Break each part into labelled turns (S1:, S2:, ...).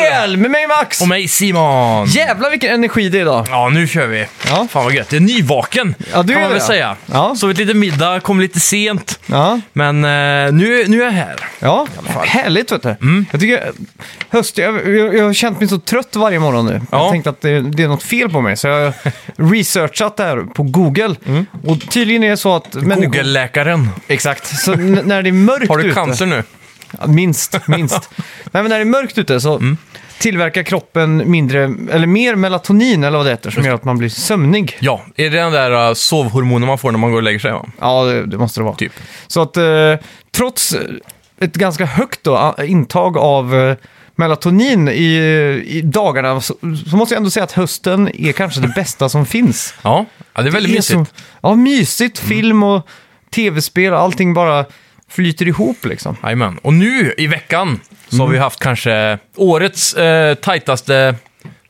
S1: Duell med mig Max!
S2: Och mig Simon!
S1: Jävlar vilken energi det är idag!
S2: Ja, nu kör vi.
S1: Ja.
S2: Fan vad gött. Det är nyvaken,
S1: Ja, du
S2: kan
S1: är
S2: man väl
S1: det, ja.
S2: säga.
S1: Ja.
S2: Sovit lite middag, kom lite sent.
S1: Ja,
S2: Men eh, nu, nu är jag här.
S1: ja. härligt vet du.
S2: Mm.
S1: Jag tycker höst, jag, jag, jag har känt mig så trött varje morgon nu.
S2: Ja.
S1: Jag tänkte att det, det är något fel på mig, så jag har researchat det här på Google.
S2: Mm.
S1: Och tydligen är det så att... människor-
S2: Google-läkaren.
S1: Exakt. Så n- när det är mörkt
S2: Har du
S1: ute-
S2: cancer nu?
S1: Ja, Minst, minst. Nej, men när det är mörkt ute så
S2: Mm.
S1: tillverkar kroppen mindre, eller mer melatonin eller vad det heter, som gör att man blir sömnig.
S2: Ja, är det den där eh, sovhormonen man får när man går och lägger sig? Va?
S1: Ja, det, det måste det vara.
S2: Typ.
S1: Så att eh, trots ett ganska högt då, a- intag av eh, melatonin i, i dagarna så, så måste jag ändå säga att hösten är kanske det bästa som finns.
S2: Ja. ja, det är väldigt
S1: Det är
S2: mysigt.
S1: Så, ja, mysigt. Film och tv-spel, allting bara flyter ihop liksom.
S2: Jajamän. Och nu i veckan så har
S1: Mm.
S2: vi haft kanske årets eh, tajtaste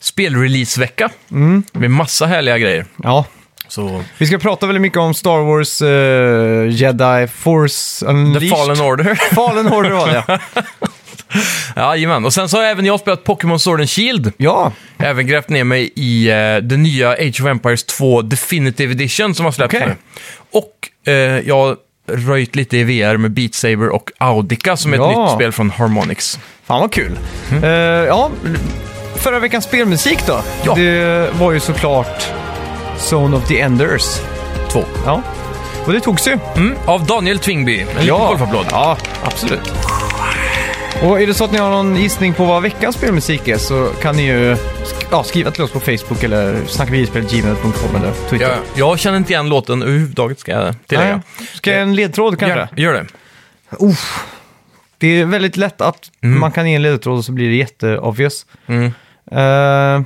S2: spelreleasevecka.
S1: Mm.
S2: Med massa härliga grejer.
S1: Ja.
S2: Så,
S1: Vi ska prata väldigt mycket om Star Wars eh, Jedi Force
S2: The
S1: Unleashed.
S2: Fallen Order.
S1: Fallen Order var det,
S2: Jajamän. Och sen så har även jag spelat Pokémon Sword and Shield.
S1: ja.
S2: Även grävt ner mig i eh, det nya Age of Empires 2 Definitive Edition som har släppts
S1: Okej.
S2: nu. Och eh, jag har röjt lite i VR med Beat Saber och Audica som är ett
S1: Ja.
S2: nytt spel från Harmonix.
S1: Fan vad kul. Eh, ja, förra veckans spelmusik då?
S2: Ja.
S1: Det var ju såklart Zone of the Enders.
S2: 2.
S1: Ja. Och det togs ju.
S2: Mm, av Daniel Tvingby. En liten
S1: ja.
S2: golfapplåd.
S1: Ja, absolut. Och är det så att ni har någon gissning på vad veckans spelmusik är så kan ni ju sk- ja, skriva till oss på Facebook eller snackavispel.gmail.com eller Twitter.
S2: Jag, jag känner inte igen låten överhuvudtaget ska jag tillägga.
S1: Nej. Ska jag ge en ledtråd kanske?
S2: Gör, gör det.
S1: Det är väldigt lätt att man kan ge en ledtråd och så blir det jätteobvious.
S2: Mm.
S1: Eh,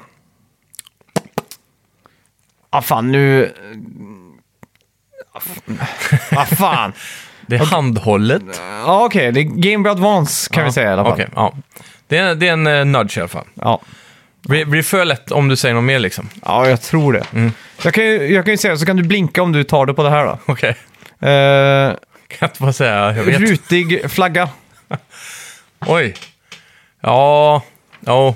S1: ah fan nu... Vad ah, fan.
S2: Det är handhållet.
S1: Ja okej, det är Game Boy Advance kan vi säga i alla fall.
S2: Okej, ja. Det är, det är en eh, nudge i alla fall.
S1: Ja.
S2: Blir, blir för lätt om du säger något mer liksom.
S1: ja, jag tror det.
S2: Mm.
S1: Jag, kan ju, jag kan ju säga så kan du blinka om du tar det på det här då.
S2: Okej.
S1: Eh,
S2: Kan inte bara säga, jag vet.
S1: rutig flagga.
S2: Oj. Ja. Ja.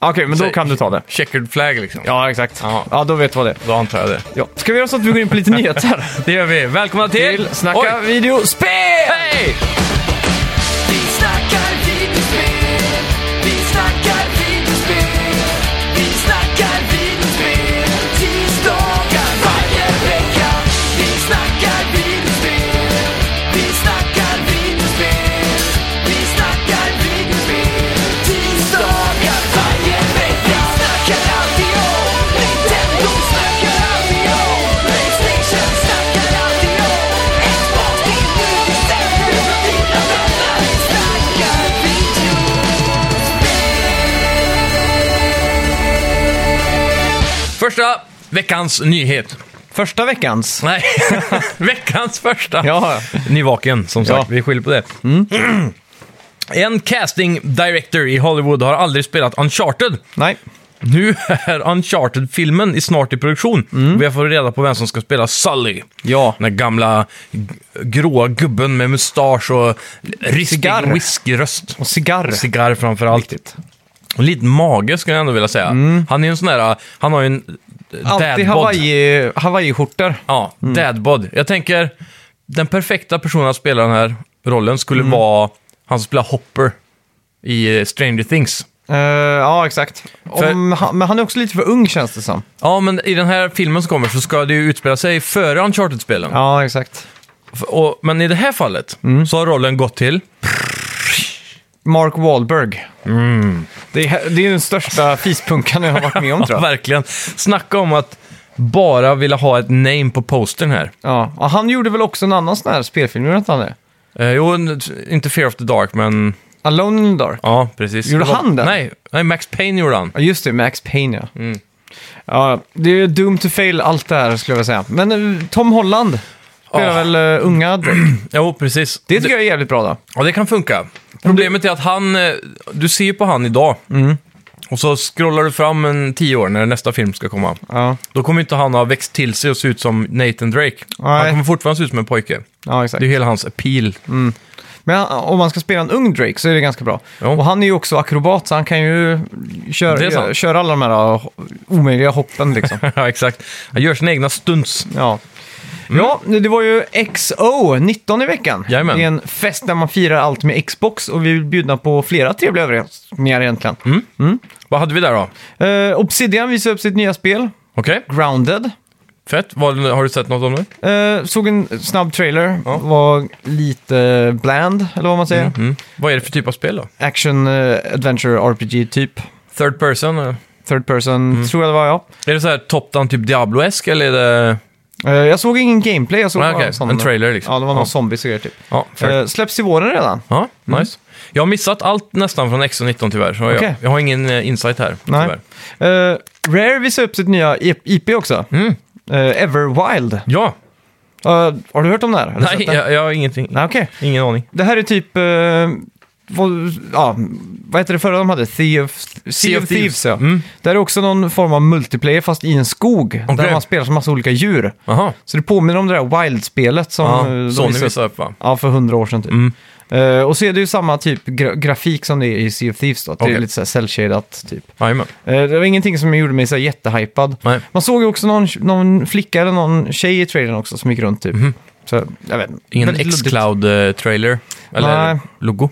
S1: Ah, Okej, men då
S2: Säg-
S1: kan du ta det.
S2: Checkered flag liksom.
S1: Ja, exakt.
S2: Ja.
S1: Ja, då vet du vad det är.
S2: Då antar jag det.
S1: Ja. Ska vi göra så att vi går in på lite nyheter?
S2: Det gör vi. Välkomna till...
S1: Till Snacka
S2: Oj.
S1: videospel!
S2: Hej!
S3: Vi snackar videospel, vi snackar videospel, vi snackar videospel, tisdagar varje vecka. Vi snackar videospel, vi snackar videospel, vi snackar videospel, tisdagar varje vecka. Snackar alltid om Nintendo, snackar alltid om Playstation, snackar alltid om Xbox, det är nu vi sätter upp dina vänner. Snackar video.
S2: Första veckans nyhet.
S1: Första veckans.
S2: Nej, veckans första.
S1: Ja.
S2: Nyvaken, som sagt.
S1: Ja.
S2: Vi skiljer på det. Mm. En casting director i Hollywood har aldrig spelat Uncharted.
S1: Nej.
S2: Nu är Uncharted-filmen i snart i produktion. Vi har fått reda på vem som ska spela Sully.
S1: Mm. Ja.
S2: Den där gamla g- gråa gubben med mustasch och ristig
S1: Cigarr.
S2: whiskyröst.
S1: Och cigarr.
S2: Cigarr framför allt.
S1: Viktigt. Mm.
S2: Och lite mage skulle jag ändå vilja säga. Han är ju en sån där, han har ju en
S1: Alltid
S2: dadbod.
S1: Hawaii, Mm. Hawaii-skjortor.
S2: Ja, dadbod. Jag tänker, den perfekta personen att spela den här rollen skulle
S1: Mm.
S2: vara han som spelar Hopper i eh, Stranger Things.
S1: Eh, ja, exakt.
S2: För-
S1: Om, han, men han är också lite för ung känns det som.
S2: Ja, men i den här filmen som kommer så ska det ju utspela sig före Uncharted-spelen.
S1: Ja, Mm. exakt.
S2: F- Och, men i det här fallet så har rollen gått till...
S1: Mark Wahlberg.
S2: Mm.
S1: Det, är, det är den största fispunkan jag har varit med om tror jag.
S2: Verkligen. Snacka om att bara vilja ha ett name på postern här.
S1: Ja. Ja, han gjorde väl också en annan sån här spelfilm, gjorde inte han det?
S2: Eh, jo, n- inte Fear of the Dark, men...
S1: Alone in the Dark.
S2: Ja, precis.
S1: Gjorde
S2: Det var-
S1: han den?
S2: Nej, nej, Max Payne gjorde han.
S1: Ja, just det. Max Payne ja.
S2: Mm.
S1: Ja, det är ju doomed to fail allt det här skulle jag vilja säga. Men eh, Tom Holland spelar
S2: Ah.
S1: väl eh, unga Drake.
S2: Jo, precis.
S1: Det tycker jag är jävligt bra då.
S2: Ja, det kan funka. Problemet är att han... eh, Du ser ju på han idag.
S1: Mm.
S2: Och så scrollar du fram en tio år när nästa film ska komma.
S1: Ja,
S2: Då kommer inte han ha växt till sig och se ut som Nathan Drake.
S1: Nej. Mm.
S2: Han kommer fortfarande se ut som en pojke.
S1: ja
S2: Det är
S1: exakt.
S2: ju hela hans appeal.
S1: Men han- om man ska spela en ung Drake så är det ganska bra.
S2: Jo.
S1: Och han är ju också akrobat så han kan ju
S2: Det är
S1: köra,
S2: sant.
S1: köra alla de här uh, omöjliga hoppen liksom.
S2: ja, exakt. Han gör sina egna stunts.
S1: Ja. Ja, det var ju XO 19 i veckan.
S2: Mm. Jajamän.
S1: Det är en fest där man firar allt med Xbox och vi vill bjuda på flera trevliga överraskningar egentligen.
S2: Vad hade vi där då?
S1: Eh, Obsidian visar upp sitt nya spel,
S2: Okej,
S1: Grounded.
S2: fett. Vad, har du sett något om det?
S1: Eh, såg en snabb trailer,
S2: Ja.
S1: var lite bland, eller vad man säger.
S2: Mm. Vad är det för typ av spel då?
S1: Action, eh, adventure, RPG typ.
S2: Third person? eh?
S1: Third person, tror jag det var ja.
S2: Är det så här top-down typ Diablo-esk eller är det...
S1: Eh, jag såg ingen gameplay, jag såg
S2: Nej,
S1: bara
S2: Ah, okej. En trailer liksom.
S1: Ja, det var någon
S2: Ja.
S1: zombies och grejer typ.
S2: Ja, fair.
S1: Eh, släpps i våren redan.
S2: ja nice. Jag har missat allt nästan från X19 tyvärr, så
S1: Okej.
S2: jag, jag har ingen eh, insight här.
S1: Nej.
S2: Tyvärr.
S1: Eh, Rare visar upp sitt nya I- IP också.
S2: Mm.
S1: Eh, Everwild.
S2: Ja,
S1: Eh, har du hört om det här? Har du
S2: nej,
S1: sett det?
S2: jag, jag har ingenting.
S1: Nej, okej.
S2: Ingen aning.
S1: Det här är typ... eh, vad, ja, vad heter det förra de hade? Sea of, sea of Thieves. ja.
S2: Mm.
S1: Där är också någon form av multiplayer fast i en skog. Där
S2: Okej.
S1: man spelar som massa olika djur.
S2: Aha.
S1: Så det påminner om det där Wild-spelet som eh,
S2: Ja,
S1: de
S2: Sony
S1: visade upp.
S2: visade upp va?
S1: Ja, för hundra år sedan typ.
S2: Mm.
S1: Eh, och så är det ju samma typ gra- grafik som det är i Sea of Thieves då. att Det är
S2: Okej.
S1: lite såhär cell-shadat typ.
S2: Jajamän.
S1: Eh, det var ingenting som gjorde mig så här jättehypad.
S2: Nej.
S1: Man såg ju också någon, någon flicka eller någon tjej i trailern också som gick runt typ. Så, jag vet inte.
S2: Mhm. Ingen
S1: Väldigt luddigt.
S2: X-Cloud-trailer? Eller
S1: Nej.
S2: logo?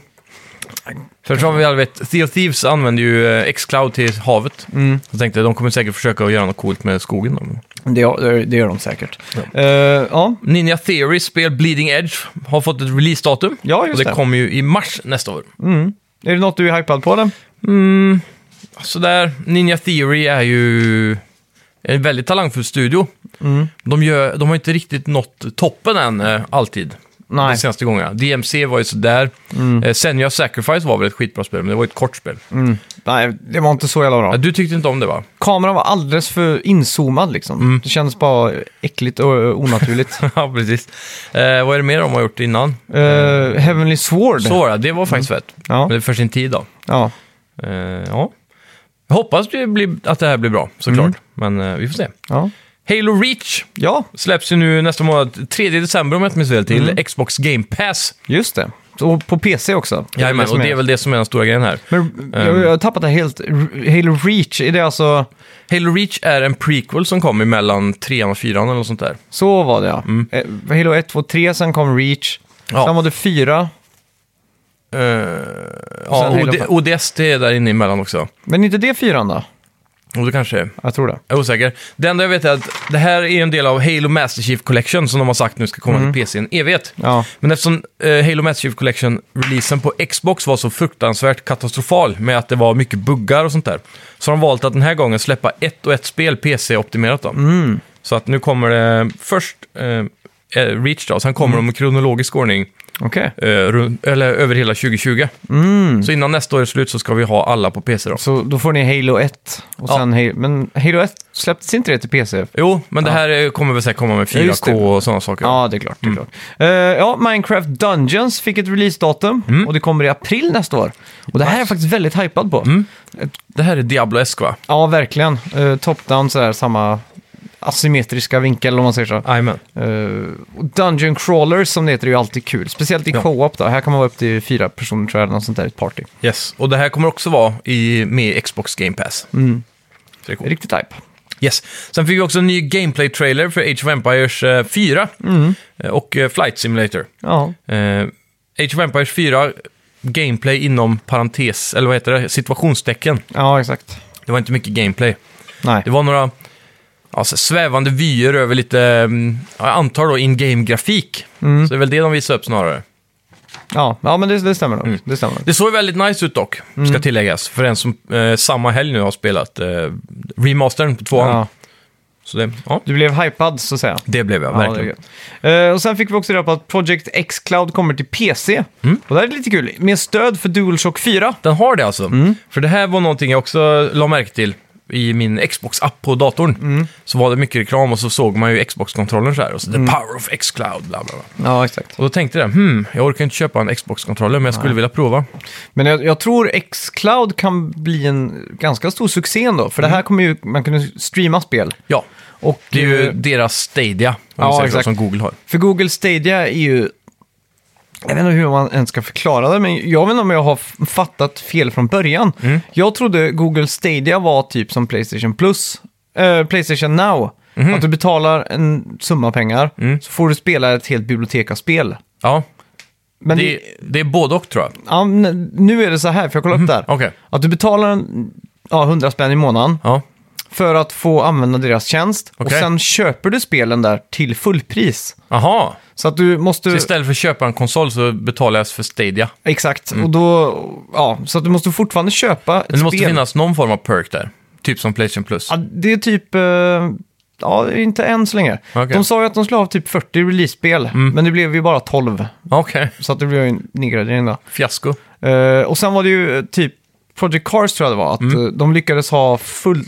S2: För som vi alla vet, Theo Thieves använder ju eh, X-Cloud till havet.
S1: Mm.
S2: Jag tänkte de kommer säkert försöka att göra något coolt med skogen. Då.
S1: Det, gör- det gör de säkert. Ja, ja.
S2: Ninja Theory spel Bleeding Edge har fått ett releasedatum.
S1: ja
S2: Och
S1: just
S2: det
S1: det.
S2: kommer ju i mars nästa år.
S1: Mm. Är det något du är hypad på eller?
S2: Mm. Sådär, Ninja Theory är ju en väldigt talangfull studio.
S1: Mm.
S2: De, gör, de har inte riktigt nått toppen än, eh, alltid.
S1: Nej.
S2: De senaste gångerna. DMC var ju sådär.
S1: Mm.
S2: Eh, Senja Sacrifice var väl ett skitbra spel, men det var ju ett kort spel.
S1: Mm. Nej, det var inte så jävla bra.
S2: Ja, du tyckte inte om det va?
S1: Kameran var alldeles för inzoomad liksom.
S2: Mm.
S1: Det kändes bara äckligt och eh, onaturligt.
S2: ja, precis. Eh, vad är det mer de har gjort innan?
S1: Eh, Heavenly Sword.
S2: Så ja, det var faktiskt fett.
S1: Mm. Ja.
S2: Men för sin tid då.
S1: ja.
S2: Eh, ja. Jag hoppas det blir, att det här blir bra, såklart.
S1: Mm.
S2: Men eh, vi får se.
S1: Ja.
S2: Halo Reach
S1: ja,
S2: släpps ju nu nästa månad, 3 december om jag inte minns fel, till
S1: Mm.
S2: Xbox Game Pass.
S1: just det. Och på PC också. Det är
S2: Jajamän,
S1: det som
S2: och det är väl Ehm. det som är den stora grejen här.
S1: Men jag, jag har tappat det helt. R- Halo Reach, är det alltså...
S2: Halo Reach är en prequel som kom mellan 3 och 4 eller något sånt där.
S1: Så var det ja. Eh, Halo 1, 2, 3, sen kom Reach.
S2: Mm. Ja.
S1: Sen var det 4.
S2: Eh, ja,
S1: Halo
S2: OD,
S1: Pass.
S2: ODST är där inne emellan också.
S1: Men inte det 4 då?
S2: Och det kanske är.
S1: Jag tror det.
S2: Jag är osäker. Det enda jag vet är att det här är en del av Halo Master Chief Collection som de har sagt nu ska komma till PC i en evighet.
S1: Mm. Ja.
S2: Men eftersom eh, Halo Master Chief Collection-releasen på Xbox var så fruktansvärt katastrofal med att det var mycket buggar och sånt där. Så har de valt att den här gången släppa ett och ett spel PC-optimerat då.
S1: Mm.
S2: Så att nu kommer det först eh, eh, Reach då, sen kommer
S1: Mm.
S2: de i kronologisk ordning
S1: Okej.
S2: eh, runt- eller över hela 2020. Så innan nästa år är slut så ska vi ha alla på PC då.
S1: Mm. Så då får ni Halo 1. Och
S2: Ja.
S1: sen Halo... Men Halo 1 släpptes inte det till PC?
S2: Jo, men det här eh, kommer väl säkert komma med
S1: Ja, just det.
S2: 4K och sådana saker.
S1: Ja, det är klart. Det är
S2: Mm.
S1: klart. Eh, ja, Minecraft Dungeons fick ett releasedatum
S2: Mm.
S1: och det kommer i april nästa år. Och det här är jag faktiskt väldigt hypad på.
S2: Mm. Det här är diablo esk va?
S1: Ja, verkligen. Eh, Top-down, sådär samma asymmetriska vinkel om man säger så.
S2: Jajamän.
S1: Eh, och Dungeon crawlers som det heter är ju alltid kul. Speciellt i
S2: Ja.
S1: co-op då. Här kan man vara upp till fyra personer tror jag, eller något sånt där i ett party.
S2: Yes, och det här kommer också vara i, med i Xbox Game Pass. Så det är coolt.
S1: Riktigt hype.
S2: Yes. Sen fick vi också en ny gameplay-trailer för Age of Empires eh, 4 eh, och eh, Flight Simulator.
S1: Ja.
S2: Eh, Age of Empires 4, gameplay inom parentes, eller vad heter det? Situationstecken.
S1: ja, exakt.
S2: Det var inte mycket gameplay.
S1: Nej.
S2: Det var några alltså, svävande vyer över lite, mm, jag antar då, in-game-grafik. Så det är väl det de visar upp snarare.
S1: Ja. ja, men det, det stämmer nog. Det stämmer. nog.
S2: Mm. Det såg väldigt nice ut dock,
S1: Mm.
S2: ska tilläggas. För en som eh, samma helg nu har spelat eh, remastern på tvåan.
S1: Ja.
S2: Så det, ja,
S1: Du blev hypad så att säga.
S2: det blev jag
S1: Ja, det är
S2: verkligen.
S1: gött. Eh, och sen fick vi också reda på att Project X Cloud kommer till PC.
S2: Mm.
S1: Och det här är lite kul. Med stöd för DualShock 4.
S2: Den har det alltså.
S1: Mm.
S2: För det här var någonting jag också la märke till i min Xbox-app på datorn.
S1: Mm.
S2: Så var det mycket reklam och så såg man ju Xbox-kontrollen så här. Och så The power of X-Cloud, bla bla bla.
S1: Ja, exakt.
S2: Och då tänkte jag, hmm, jag orkar inte köpa en Xbox-kontroller men jag skulle vilja prova.
S1: Men jag, jag tror X Cloud kan bli en ganska stor succé ändå. För det här kommer ju, man kunna streama spel.
S2: Ja,
S1: Och
S2: Mm. det är ju
S1: eh,
S2: deras Stadia, om
S1: Ja,
S2: ja, säger så,
S1: exakt.
S2: som Google har.
S1: För Google Stadia är ju Jag vet inte hur man ens ska förklara det, men jag vet inte om jag har f- fattat fel från början.
S2: Mm.
S1: Jag trodde Google Stadia var typ som Playstation Plus, eh, Playstation Now.
S2: Mhm.
S1: Att du betalar en summa pengar,
S2: Mm.
S1: så får du spela ett helt bibliotek av spel.
S2: Ja,
S1: Men
S2: det, det är både och tror jag.
S1: ja, men nu är det så här, för jag kollade upp det här.
S2: Mhm, Okej.
S1: Att du betalar en, ja, 100 spänn i månaden
S2: Ja.
S1: för att få använda deras tjänst. Och
S2: Okej.
S1: sen köper du spelen där till fullpris.
S2: Aha.
S1: Så att du måste...
S2: Så istället för att köpa en konsol så betalar jag för Stadia.
S1: Exakt, och då, ja, så att du måste fortfarande köpa ett
S2: Mm. Men det måste
S1: spel.
S2: finnas någon form av perk där. Typ som Playstation Plus.
S1: Ja, det är typ, eh, ja, inte än så länge.
S2: Okej. Mm.
S1: De sa ju att de skulle ha typ 40 release-spel, men det blev ju bara 12.
S2: Okej,
S1: Så att det blev ju en nedgradering då.
S2: fiasko.
S1: Eh, och sen var det ju eh, typ Project Cars tror jag det var, att
S2: Mm.
S1: eh, de lyckades ha full,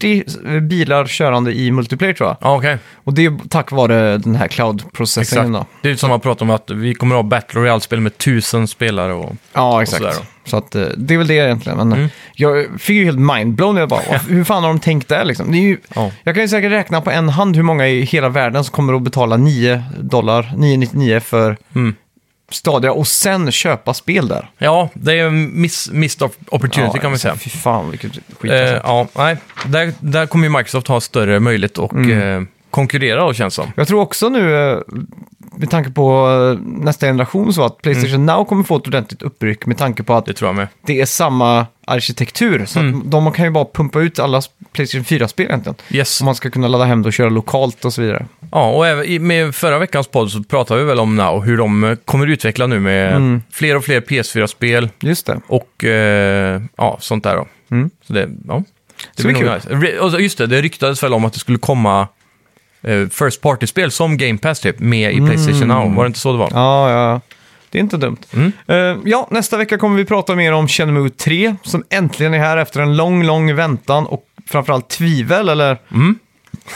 S1: 40 bilar körande i multiplayer tror jag.
S2: Ja, okej.
S1: Och det är tack vare den här
S2: Exakt.
S1: cloud-processingen då.
S2: Det är som man pratar om att vi kommer att ha Battle Royale-spel med tusen spelare och...
S1: Ja,
S2: sådär
S1: exakt.
S2: då. Mm.
S1: Så att, eh, det är väl det egentligen. Men eh, jag fick ju helt mindblown. Jag bara, "Vad- hur fan har de tänkt där liksom? Det är ju,
S2: Ja.
S1: Jag kan ju säkert räkna på en hand hur många i hela världen som kommer att betala 9 dollar, 9,99 för
S2: Mm.
S1: Stadia och sen köpa spel där.
S2: Ja, det är en miss, missed op- opportunity kan man
S1: alltså,
S2: säga.
S1: Fy fan vilket skit.
S2: Eh,
S1: alltså.
S2: ja, nej. Där, där kommer ju Microsoft ha större möjlighet att
S1: Mm.
S2: eh, konkurrera då, känns som.
S1: Jag tror också nu, eh, med tanke på eh, nästa generation, så att Playstation
S2: Mm.
S1: Now kommer få ett ordentligt uppryck med tanke på att
S2: Det tror jag med.
S1: det är samma arkitektur. Så
S2: Mm.
S1: att de kan ju bara pumpa ut alla Playstation 4-spel egentligen.
S2: Yes.
S1: Så man ska kunna ladda hem det och köra lokalt och så vidare.
S2: Ja, och även i- med förra veckans podd så pratade vi väl om Now, hur de eh, kommer utveckla nu med
S1: Mm.
S2: fler och fler PS4-spel
S1: Just det.
S2: och eh, ja, sånt där då. Så det, ja. Det
S1: Mm. Så
S2: blir
S1: det är
S2: nog nice. Re- och så- Just det, det ryktades väl om att det skulle komma eh, First Party-spel som Game Pass typ, med i Playstation Now. Var det inte så det var?
S1: Mm. Ja, ja. Det är inte dumt.
S2: Mm.
S1: Eh, ja, nästa vecka kommer vi prata mer om Shenmue 3 som äntligen är här efter en lång, lång väntan och framförallt tvivel eller
S2: Mm.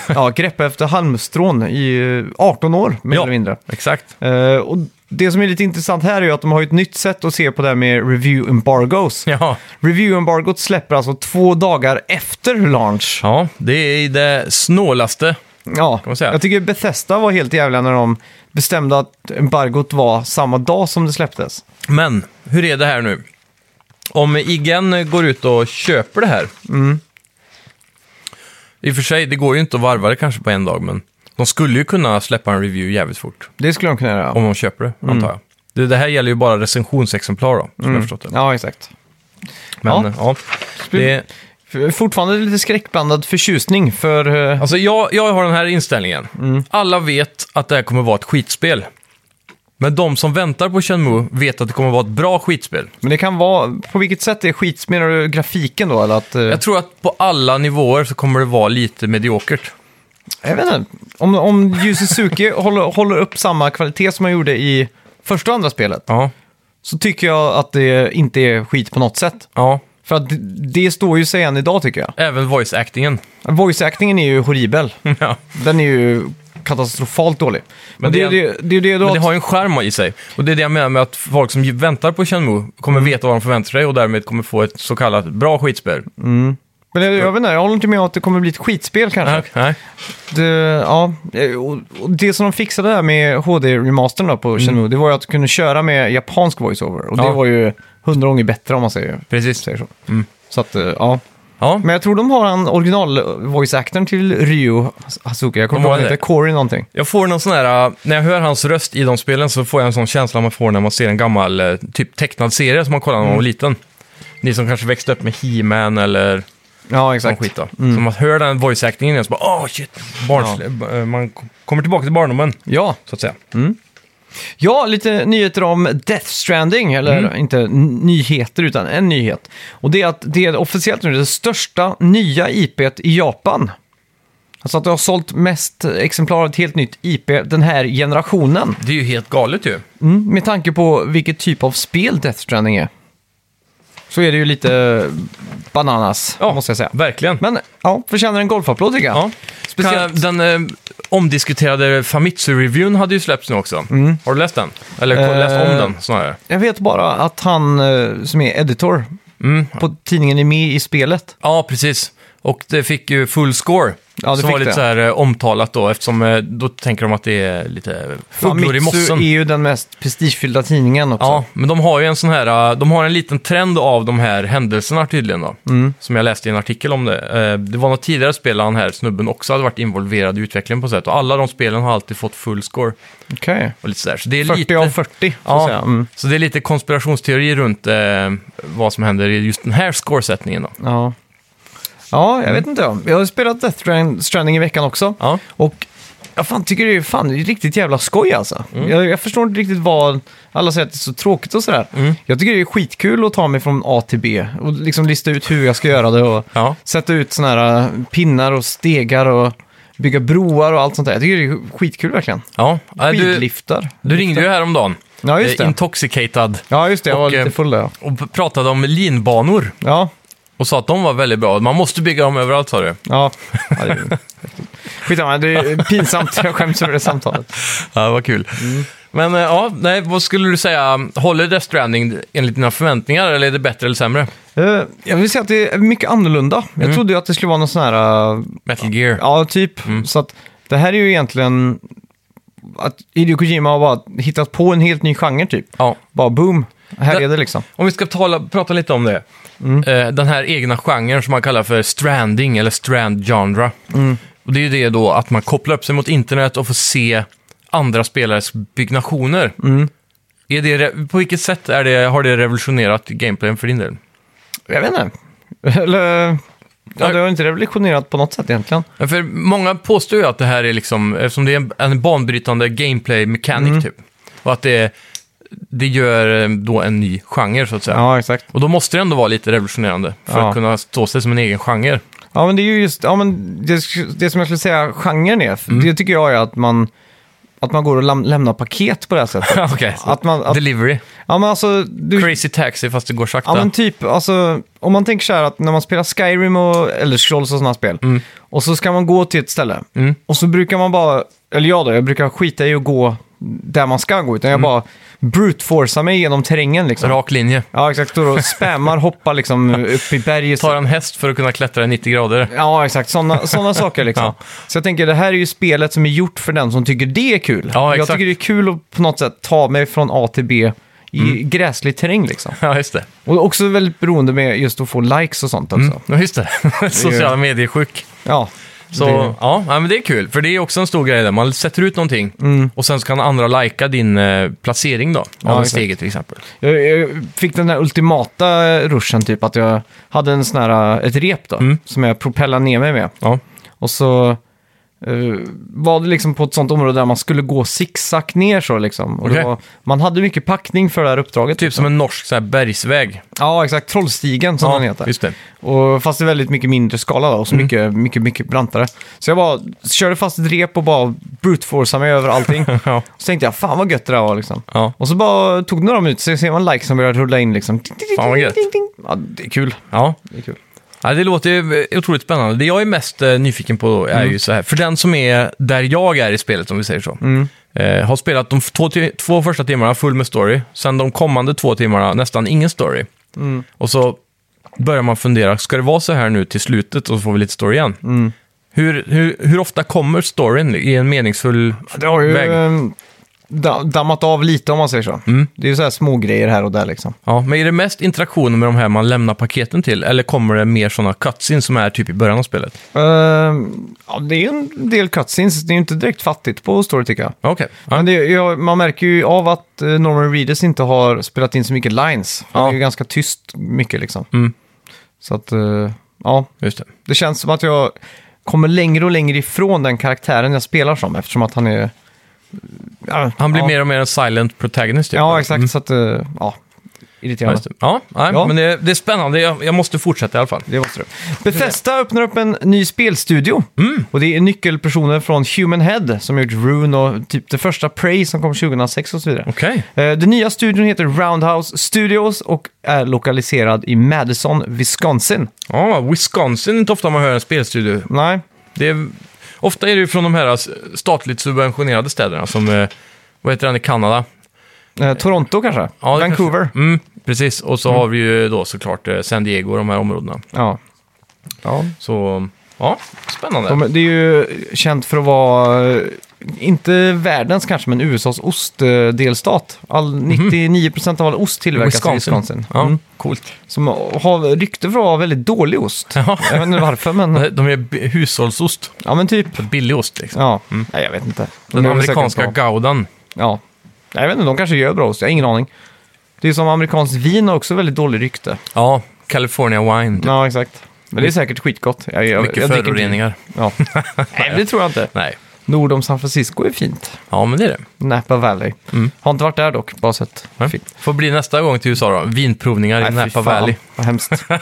S1: ja, grepp efter halmstrån i eh, 18 år mer
S2: Ja.
S1: eller mindre.
S2: Exakt.
S1: Eh, och det som är lite intressant här är ju att de har ju ett nytt sätt att se på det här med review embargoes.
S2: Ja.
S1: Review embargot släpper alltså två dagar efter launch.
S2: ja, det är det snålaste.
S1: Ja,
S2: man säga.
S1: jag tycker Bethesda var helt jävla när de bestämde att embargot var samma dag som det släpptes.
S2: Men, hur är det här nu? Om IGN går ut och köper det här.
S1: Mm.
S2: I och för sig, det går ju inte att varva det kanske på en dag, men de skulle ju kunna släppa en review jävligt fort.
S1: Det skulle de kunna göra.
S2: Om de köper det, antar jag. Det, det här gäller ju bara recensionsexemplar då, som jag har förstått det.
S1: Ja, exakt.
S2: Men,
S1: Ja.
S2: ja. Det,
S1: F- Fortfarande lite skräckblandad förtjusning för... eh,
S2: alltså jag, jag har den här inställningen. Alla vet att det här kommer vara ett skitspel. Men de som väntar på Shenmue vet att det kommer vara ett bra skitspel.
S1: Men det kan vara... På vilket sätt det är skits? Menar du grafiken då? Eller att, eh,
S2: Jag tror att på alla nivåer så kommer det vara lite mediokert.
S1: jag vet inte. Om, om Yu Suzuki håller, håller upp samma kvalitet som han gjorde i första och andra spelet
S2: Ja.
S1: så tycker jag att det inte är skit på något sätt.
S2: Ja,
S1: För att det, det står ju sig än idag tycker jag.
S2: även voice-actingen.
S1: Voice-actingen är ju horribel.
S2: ja.
S1: Den är ju katastrofalt dålig. Men,
S2: det
S1: det,
S2: är-
S1: är, det, det är det då
S2: Men det
S1: att-
S2: har ju en skärm i sig. Och det är det jag menar med att folk som ju väntar på Shenmue kommer veta vad de förväntar sig och därmed kommer få ett så kallat bra skitspel.
S1: men jag, jag vet inte, jag håller inte med om att det kommer bli ett skitspel kanske.
S2: Nej, nej.
S1: Det, ja, eh, och, och det som de fixade där med HD-remastern då på Shenmue, det var ju att du kunde köra med japansk voiceover. Och det
S2: Mm. Ja.
S1: var ju hundra gånger bättre om man säger,
S2: Precis.
S1: säger så. Så att, eh, ja.
S2: Ja,
S1: Men jag tror de har en original voice actorn till Ryu Hazuka. Jag kommer inte
S2: De har
S1: ihåg, han
S2: det.
S1: heter Corey någonting.
S2: jag får någon sån här, äh, när jag hör hans röst i de spelen så får jag en sån känsla man får när man ser en gammal äh, typ tecknad serie som man kollade när
S1: Mm.
S2: man var liten. Ni som kanske växte upp med He-Man eller
S1: Ja,
S2: sån
S1: exakt. Mm.
S2: skit då. Så man hör den voice-actingen igen så bara åh shit, barns- äh, man k- kommer tillbaka till barndomen
S1: Ja.
S2: så att säga.
S1: Mm. Ja, lite nyheter om Death Stranding, eller
S2: Mm.
S1: inte n- nyheter utan en nyhet. Och det är att det är officiellt nu det största nya IPet i Japan. Alltså att det har sålt mest exemplar av ett helt nytt IP den här generationen.
S2: Det är ju helt galet ju.
S1: Mm, med tanke på vilket typ av spel Death Stranding är. Så är det ju lite bananas,
S2: Ja.
S1: måste jag säga.
S2: Verkligen.
S1: Men ja, förtjänar en golfapplåd tycker jag.
S2: Ja.
S1: Speciellt-
S2: Kan- Den eh, omdiskuterade Famitsu-reviewn hade ju släppts nu också. Har du läst den? Eller ko-
S1: Mm. Eh,
S2: läst om den snarare?
S1: Jag vet bara
S2: Mm.
S1: att han eh, som är editor på tidningen är med i spelet.
S2: Ja, precis. Och det fick ju full score.
S1: Ja, det
S2: som
S1: fick
S2: var lite
S1: det.
S2: så här eh, omtalat då, eftersom eh, då tänker de att det är lite fugglor i
S1: Famitsu
S2: mossen.
S1: är ju den mest prestigefyllda tidningen också.
S2: Ja, men de har ju en sån här, eh, de har en liten trend av de här händelserna tydligen då.
S1: Mm.
S2: Som jag läste i en artikel om det. Eh, Det var något tidigare spel där han här snubben också hade varit involverad i utvecklingen på sätt. Och alla de spelen har alltid fått full score.
S1: Okej.
S2: Och lite sådär. Så det är
S1: 40
S2: lite...
S1: av 40, så att
S2: Ja,
S1: säga. Mm.
S2: så det är lite konspirationsteori runt eh, vad som händer i just den här scoresättningen då.
S1: Ja. ja, jag vet inte. Jag har spelat Death Strand- Stranding i veckan också.
S2: Ja.
S1: Och jag fan, tycker det är fan det är riktigt jävla skoj alltså.
S2: Mm.
S1: Jag, jag förstår inte riktigt vad... Alla säger att det är så tråkigt och sådär.
S2: Mm.
S1: Jag tycker det är skitkul att ta mig från A till B och liksom lista ut hur jag ska göra det och
S2: Ja.
S1: sätta ut sådana här äh, pinnar och stegar och bygga broar och allt sånt där. Jag tycker det är skitkul verkligen.
S2: Ja, nej, du,
S1: Skidliftar.
S2: du ringde ju häromdagen.
S1: Ja, just
S2: Eh,
S1: det.
S2: Intoxicated.
S1: Ja, just det. Jag var
S2: Och,
S1: lite
S2: eh,
S1: full där. ja.
S2: Och p- pratade om linbanor.
S1: Ja,
S2: Och sa att de var väldigt bra. Man måste bygga dem överallt, sa du.
S1: ja. ja det... Skitsamma, det är pinsamt. Jag skäms över det samtalet.
S2: Ja, vad kul. Men eh, ja, nej, vad skulle du säga? Håller Death Stranding enligt dina förväntningar eller är det bättre eller sämre?
S1: Eh, jag vill säga att det är mycket annorlunda. Jag trodde ju att det skulle vara någon sån här, eh,
S2: Metal Gear.
S1: ja typ, så att det här är ju egentligen att Hideo Kojima har bara hittat på en helt ny genre typ.
S2: Ja.
S1: Bara boom, här
S2: Det-
S1: är det liksom.
S2: Om vi ska tala, prata lite om det.
S1: Mm.
S2: Eh, den här egna genren som man kallar för stranding eller strand genre.
S1: Mm.
S2: Och det är ju det då att man kopplar upp sig mot internet och får se andra spelares byggnationer.
S1: Mm.
S2: Är det, re- på vilket sätt är det, har det revolutionerat gameplayen för din del?
S1: Jag vet inte. Eller, ja, det har inte revolutionerat på något sätt egentligen.
S2: Ja, För många påstår ju att det här är liksom, eftersom det är en- en banbrytande gameplay mechanic
S1: Mm.
S2: typ. Och att det, det gör eh, då en ny genre så att säga.
S1: Ja, exakt.
S2: Och då måste det ändå vara lite revolutionerande för
S1: Ja.
S2: att kunna stå sig som en egen genre.
S1: Ja, men det är ju just, ja men det, det som jag skulle säga genren är, det tycker jag är att man, att man går och läm- lämnar paket på det här sättet.
S2: Okej, så
S1: Att man, att,
S2: delivery.
S1: ja men alltså, du,
S2: Crazy Taxi fast det går sakta.
S1: Ja men typ, alltså, om man tänker så här att när man spelar Skyrim och Elder Scrolls och sådana spel. Och så ska man gå till ett ställe. Och så brukar man bara, eller jag då, jag brukar skita i att gå där man ska gå. Utan jag bara brute-forcar mig genom terrängen liksom.
S2: Rak linje.
S1: Ja exakt, står och spammar, hoppar liksom upp i berget.
S2: Tar en häst för att kunna klättra i 90 grader.
S1: Ja exakt, sådana såna saker liksom.
S2: Ja.
S1: Så jag tänker, det här är ju spelet som är gjort för den som tycker det är kul.
S2: Ja,
S1: jag
S2: exakt.
S1: tycker det är kul att på något sätt ta mig från A till B i
S2: Mm.
S1: gräslig terräng liksom.
S2: Ja, just det. Mm.
S1: Och också väldigt beroende med just att få likes och sånt också.
S2: Ja, just det. Sociala medier-sjuk.
S1: Ja.
S2: Så
S1: Det-
S2: ja, ja, men det är kul. För det är också en stor grej där. Man sätter ut någonting och sen så kan andra lajka din eh, placering då.
S1: Mm. Ja,
S2: av en
S1: exakt.
S2: steget till exempel.
S1: jag, jag fick den där ultimata ruschen typ, att jag hade en sån här, eh, ett rep då,
S2: Mm.
S1: som jag propellade ner mig med.
S2: Ja.
S1: Och så eh, var det liksom på ett sånt område där man skulle gå zigzag ner så liksom. Och det
S2: Okej.
S1: var, man hade mycket packning för det här uppdraget.
S2: Typ som en norsk så här, bergsväg.
S1: Ja, exakt. Trollstigen som den heter.
S2: just det.
S1: Och fast i väldigt mycket mindre skala då, och
S2: Mm.
S1: så mycket, mycket, mycket brantare. Så jag bara körde fast ett rep och bara brute-forcade mig över allting.
S2: Ja.
S1: Så tänkte jag, fan vad gött det där var liksom.
S2: Ja.
S1: Och så bara tog det några minuter, så ser man like som börjar rulla in liksom. Ding, ding, ding,
S2: Fan, vad
S1: ding,
S2: gött.
S1: ding, ding. Ja, det är kul.
S2: Ja.
S1: Det är kul.
S2: Ja, det låter ju eh, otroligt spännande. Det jag är mest eh, nyfiken på då är ju så här, för den som är där jag är i spelet om vi säger så, eh, har spelat de f- två, ti- två första timmarna full med story, sen de kommande två timmarna nästan ingen story. Och så börjar man fundera, ska det vara så här nu till slutet och så får vi lite story igen? Hur, hur, hur ofta kommer storyn i en meningsfull
S1: Det har ju
S2: väg? Mm.
S1: ehm, da- dammat av lite om man säger så. Det är ju så här små grejer här och där liksom.
S2: Ja, men är det mest interaktion med de här man lämnar paketen till, eller kommer det mer sådana cutscenes som är typ i början av spelet?
S1: Ehm, ja, det är ju en del cutscenes, det är ju inte direkt fattigt på story tycker jag.
S2: Ja, Okej. Ja.
S1: Men det, jag, man märker ju av att eh, Norman Reedus inte har spelat in så mycket lines. Han
S2: Ja.
S1: är ju ganska tyst mycket liksom.
S2: Mm.
S1: Så att, eh, ja,
S2: Just det.
S1: det känns som att jag kommer längre och längre ifrån den karaktären jag spelar som eftersom att han är... eh, Ja,
S2: Han blir
S1: ja.
S2: mer och mer en silent protagonist. Typ.
S1: Ja, exakt. Så att, eh, ja,
S2: Ja,
S1: irriterande.
S2: just det. ja, nej,
S1: Ja.
S2: men det, det är spännande. Jag, jag måste fortsätta i alla fall.
S1: Det måste du. Bethesda öppnar upp en ny spelstudio.
S2: Mm.
S1: Och det är nyckelpersoner från Human Head som gjort Rune och typ det första Prey som kom 2006 och så vidare.
S2: Okej.
S1: Eh, Den nya studion heter Roundhouse Studios och är lokaliserad i Madison, Wisconsin.
S2: Ja, Wisconsin är inte ofta man hör en spelstudio.
S1: Nej,
S2: Det är, ofta är det ju från de här s- statligt subventionerade städerna som, eh, vad heter den i Kanada?
S1: eh, Toronto kanske?
S2: Ja, det
S1: Vancouver? Mm.
S2: Kanske, mm, precis, och så har vi ju då såklart eh, San Diego och de här områdena.
S1: Ja. Ja.
S2: Så ja, spännande.
S1: De, det är ju känt för att vara, eh, inte världens kanske, men USAs ostdelstat. All, 99% av all ost tillverkas i Wisconsin.
S2: Mhm. Ja,
S1: Mm.
S2: coolt.
S1: Som har rykte för att ha väldigt dålig ost.
S2: Ja.
S1: Jag vet inte varför, men,
S2: De är b- hushållsost,
S1: ja men typ.
S2: billig ost liksom.
S1: Ja, nej jag vet inte. De
S2: Den
S1: är väl säkert
S2: amerikanska
S1: bra.
S2: goudan.
S1: Ja. Nej, Jag vet inte, de kanske gör bra ost, jag har ingen aning. Det är som amerikanskt vin har också väldigt dåligt rykte.
S2: Ja, California wine. typ.
S1: Ja, exakt. Men det är säkert skitgott. Jag, jag,
S2: Mycket
S1: jag dricker inte vin.
S2: föroreningar.
S1: Ja. Nej, men det tror jag inte.
S2: Nej.
S1: Nord om San Francisco är fint.
S2: Ja, men det är det.
S1: Napa Valley.
S2: Mm.
S1: Har inte varit där dock, bara sett.
S2: Ja.
S1: Fint.
S2: Får bli nästa gång till USA då. Vinprovningar i
S1: Nej, fy
S2: Napa
S1: fan,
S2: Valley.
S1: Vad hemskt. ja,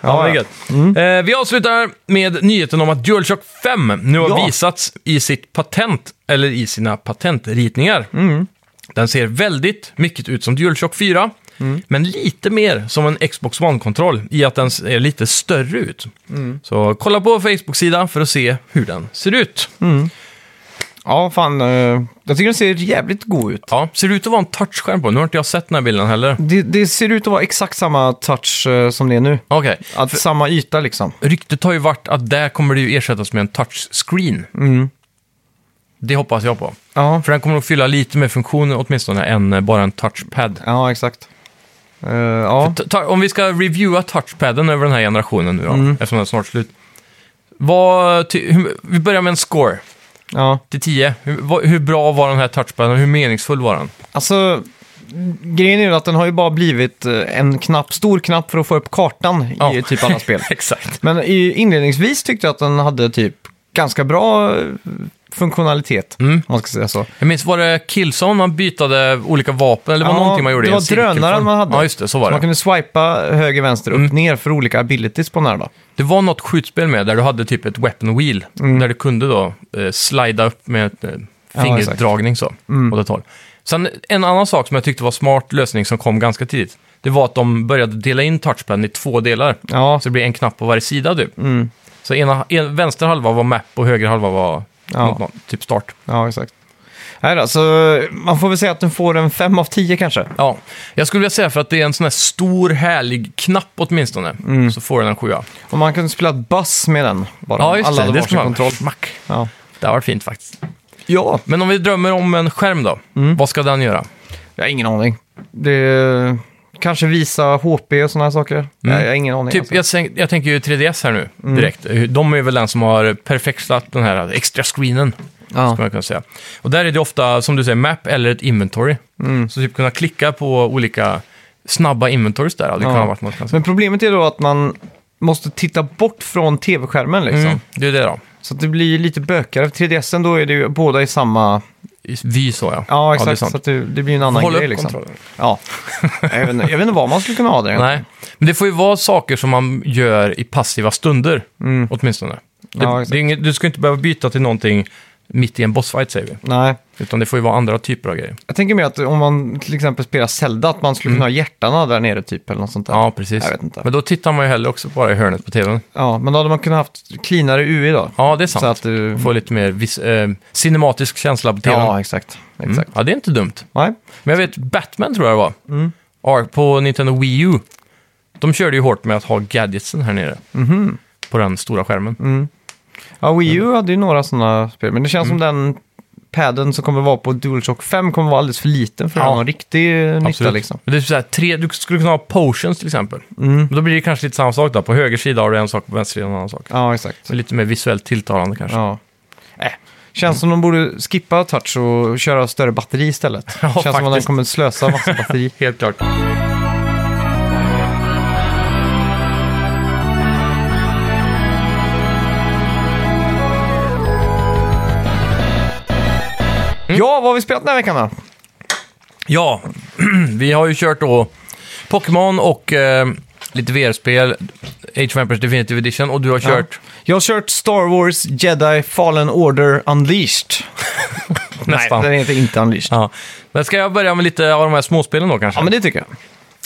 S2: Ja, det är
S1: ja. Mm.
S2: gött. Eh, vi avslutar med nyheten om att DualShock 5 nu har
S1: Ja.
S2: visats i sitt patent, eller i sina patentritningar.
S1: Mm.
S2: Den ser väldigt mycket ut som DualShock 4,
S1: Mm.
S2: men lite mer som en Xbox One-kontroll i att den ser lite större ut.
S1: Mm.
S2: Så kolla på vår Facebook-sida för att se hur den ser ut.
S1: Mm. ja, fan. eh, jag tycker den ser jävligt god ut.
S2: Ja, ser det ut att vara en touchskärm på? Nu har inte jag sett den här bilden heller.
S1: Det, det ser ut att vara exakt samma touch eh, som det är nu.
S2: Okej.
S1: Att samma yta liksom.
S2: Ryktet har ju varit att där kommer det ju ersättas med en touchscreen.
S1: Mm.
S2: Det hoppas jag på.
S1: Ja,
S2: För den kommer att fylla lite mer funktioner åtminstone än eh, bara en touchpad.
S1: ja exakt. Eh, ja.
S2: Ta- ta- Om vi ska reviewa touchpaden över den här generationen nu då,
S1: Mm.
S2: eftersom den är snart slut. Vad, ty- hur, vi börjar med en score
S1: ja.
S2: till 10. Hur, vad, hur bra var den här touchpaden? Hur meningsfull var den?
S1: Alltså, grejen är ju att den har ju bara blivit eh, en knapp, stor knapp för att få upp kartan i
S2: Ja.
S1: typ alla spel.
S2: Exakt.
S1: Men i, inledningsvis tyckte jag att den hade typ ganska bra eh, funktionalitet,
S2: Mm.
S1: om man ska säga så.
S2: Jag minns, var det Killzone man bytade olika vapen? Eller var
S1: Ja,
S2: någonting man gjorde i
S1: det
S2: en
S1: var drönaren
S2: cirkelform?
S1: man hade.
S2: Ja, just det. Så var
S1: Så man
S2: det. Mm.
S1: kunde swipa höger, vänster, upp, ner för olika abilities på den här då.
S2: Det var något skjutspel med där du hade typ ett weapon wheel. Där du kunde då eh, slida upp med ett, eh,
S1: Mm. Ja, Mm.
S2: fingerdragning så. Åt ett håll. Sen en annan sak som jag tyckte var smart lösning som kom ganska tidigt. Det var att de började dela in touchpaden i två delar.
S1: Ja, Mm.
S2: Så det blir en knapp på varje sida typ. Så ena, en, vänster halva var map och höger halva var
S1: Ja.
S2: något, något, typ start.
S1: ja exakt. Nej då, så eh, man får väl säga att den får en 5 av 10 kanske.
S2: Ja, jag skulle vilja säga för att det är en sån här stor härlig knapp åtminstone.
S1: Mm.
S2: Så får den en sjua.
S1: Och man kunde spela Buzz med den. Bara. Alla hade varsin
S2: skulle man-
S1: kontroll.
S2: Mack.
S1: Ja.
S2: Det har varit fint faktiskt.
S1: ja,
S2: Men om vi drömmer om en skärm då,
S1: Mm.
S2: vad ska den göra?
S1: jag har ingen aning. Det... Kanske visa HP och sådana här saker. Nej, jag har ingen aning.
S2: Typ,
S1: alltså.
S2: jag, tänk, jag tänker ju 3DS här nu
S1: Mm.
S2: direkt. De är väl den som har perfektat den här extra screenen.
S1: Ja.
S2: Skulle man kunna säga. Och där är det ofta, som du säger, map eller ett inventory.
S1: Mm.
S2: Så typ kunna klicka på olika snabba inventories där. Det kan
S1: Ja.
S2: ha varit något. kanske.
S1: Men problemet är då att man måste titta bort från tv-skärmen liksom.
S2: Mm, det är det då.
S1: Så att det blir lite bökigare. För 3DSen då är det ju båda i samma...
S2: I- Vi så ja.
S1: Ja,
S2: det är
S1: exakt.
S2: sant.
S1: så att det, det blir en annan
S2: Hålla
S1: grej
S2: upp
S1: liksom.
S2: kontrollen.
S1: Ja. jag, vet, inte- jag vet inte vad man skulle kunna ha där.
S2: Nej, men det får ju vara saker som man gör i passiva stunder, åtminstone. Det,
S1: Mm. Ja, exakt.
S2: det är inget, du ska inte behöva byta till någonting mitt i en bossfight, säger vi.
S1: Nej.
S2: Utan det får ju vara andra typer av grejer.
S1: Jag tänker mer att om man till exempel spelar Zelda, att man skulle kunna ha hjärtarna där nere typ eller något sånt där.
S2: Mm. Ja, precis.
S1: Jag vet inte.
S2: Men då tittar man ju hellre också bara i hörnet på tvn.
S1: Ja, men då hade man kunnat haft cleanare UI då.
S2: Ja, det är sant.
S1: Så att du...
S2: Få lite mer vis- eh, cinematisk känsla på tvn.
S1: Ja, exakt. exakt.
S2: Mm. ja, det är inte dumt.
S1: Nej.
S2: Men jag vet, Batman tror jag det var.
S1: Mm.
S2: Ar- På Nintendo Wii U. De körde ju hårt med att ha gadgetsen här nere.
S1: Mhm.
S2: På den stora skärmen.
S1: Mm, Ja, Wii
S2: Mm.
S1: U hade ju några sådana spel, men det känns som den padden som kommer vara på DualShock 5 kommer vara alldeles för liten för att
S2: Ja.
S1: ha någon riktig eh, nytta liksom. Mm.
S2: Men det är så här, tre, du skulle kunna ha potions till exempel. Men då blir det kanske lite samma sak där. På höger sida har du en sak, på vänster sida en annan sak.
S1: Ja, exakt.
S2: Så lite mer visuellt tilltalande kanske.
S1: Ja. Äh. Känns som de borde skippa touch och köra större batteri istället.
S2: Mm. Ja,
S1: Känns som att den
S2: faktiskt.
S1: kommer slösa massa batteri.
S2: Helt klart. Mm.
S1: Ja, vad har vi spelat den här veckan då?
S2: Ja, vi har ju kört då Pokémon och eh, lite VR-spel. Age of Empires Definitive Edition och du har kört
S1: Jag har kört Star Wars Jedi Fallen Order Unleashed.
S2: nästan.
S1: Nej, den heter inte Unleashed.
S2: Ja. Men ska jag börja med lite av de här småspelen då kanske?
S1: Ja, men det tycker jag.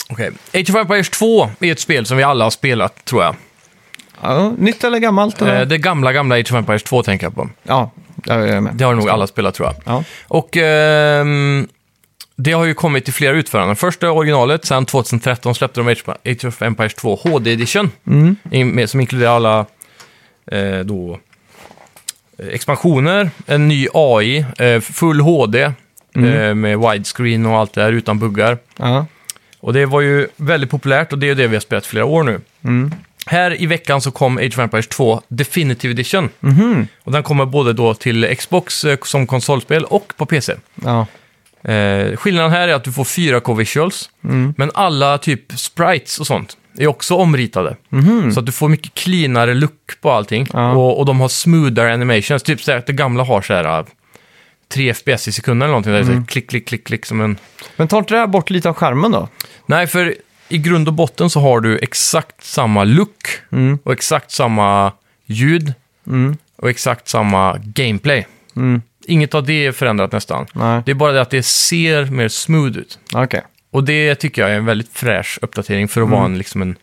S2: Okej. Age of Empires 2 är ett spel som vi alla har spelat tror jag.
S1: Ja, nytt eller gammalt? Eller?
S2: Eh, det gamla, gamla Age of Empires 2 tänker jag på.
S1: Ja, jag är med.
S2: Det har nog alla spelat tror jag.
S1: Ja.
S2: Och ehm, det har ju kommit i flera utföranden. Först är originalet, sen 2013 släppte de Age of Empires 2 HD Edition. In- med- Som inkluderar alla eh, då, eh, expansioner, en ny AI, eh, full HD eh, med widescreen och allt det där utan buggar.
S1: Ja.
S2: Och det var ju väldigt populärt och det är ju det vi har spelat flera år nu. Här i veckan så kom Age of Empires 2 Definitive Edition. Och den kommer både då till Xbox eh, som konsolspel och på PC.
S1: Ja.
S2: Eh, skillnaden här är att du får 4K visuals, men alla typ sprites och sånt är också omritade. Så att du får mycket cleanare look på allting.
S1: Ja.
S2: Och, och de har smoothare animations, typ så här att det gamla har så här eh, 3 FPS i sekunden eller någonting. Där det är så här klick, klick, klick, klick som en...
S1: Men tar inte det här bort lite av skärmen då?
S2: Nej, för i grund och botten så har du exakt samma look och exakt samma ljud och exakt samma gameplay. Inget av det är förändrat nästan.
S1: Nej.
S2: Det är bara det att det ser mer smooth ut.
S1: Okej.
S2: Och det tycker jag är en väldigt fräsch uppdatering för att
S1: Mm.
S2: vara en, liksom en...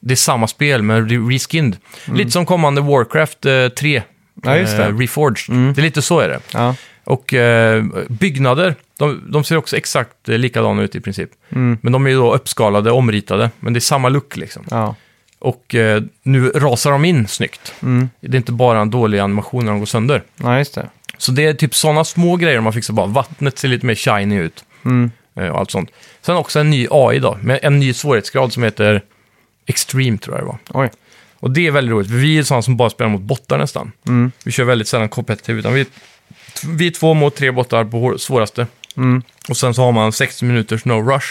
S2: Det är samma spel, men re- reskinned. Lite som kommande Warcraft eh, 3.
S1: Mm. Ja, just det. Mm.
S2: eh, Reforged. Det är lite så är det.
S1: Ja.
S2: Och eh, byggnader, de, de ser också exakt eh, likadana ut i princip.
S1: mm,
S2: Men de är ju då uppskalade, omritade. Men det är samma look liksom.
S1: Ja.
S2: Och eh, nu rasar de in snyggt. Det är inte bara en dålig animation när de går sönder.
S1: mm. ja, just det.
S2: Så det är typ sådana små grejer man fixar bara. Vattnet ser lite mer shiny ut. Eh, Och allt sånt. Sen också en ny AI då, med en ny svårighetsgrad som heter Extreme tror jag det var.
S1: Oj.
S2: Och det är väldigt roligt, för vi är sådana som bara spelar mot bottar nästan. Vi kör väldigt sällan kompetitivt, utan vi, är t- vi är två mot tre bottar på hår- svåraste. Och sen så har man 60 minuters no rush.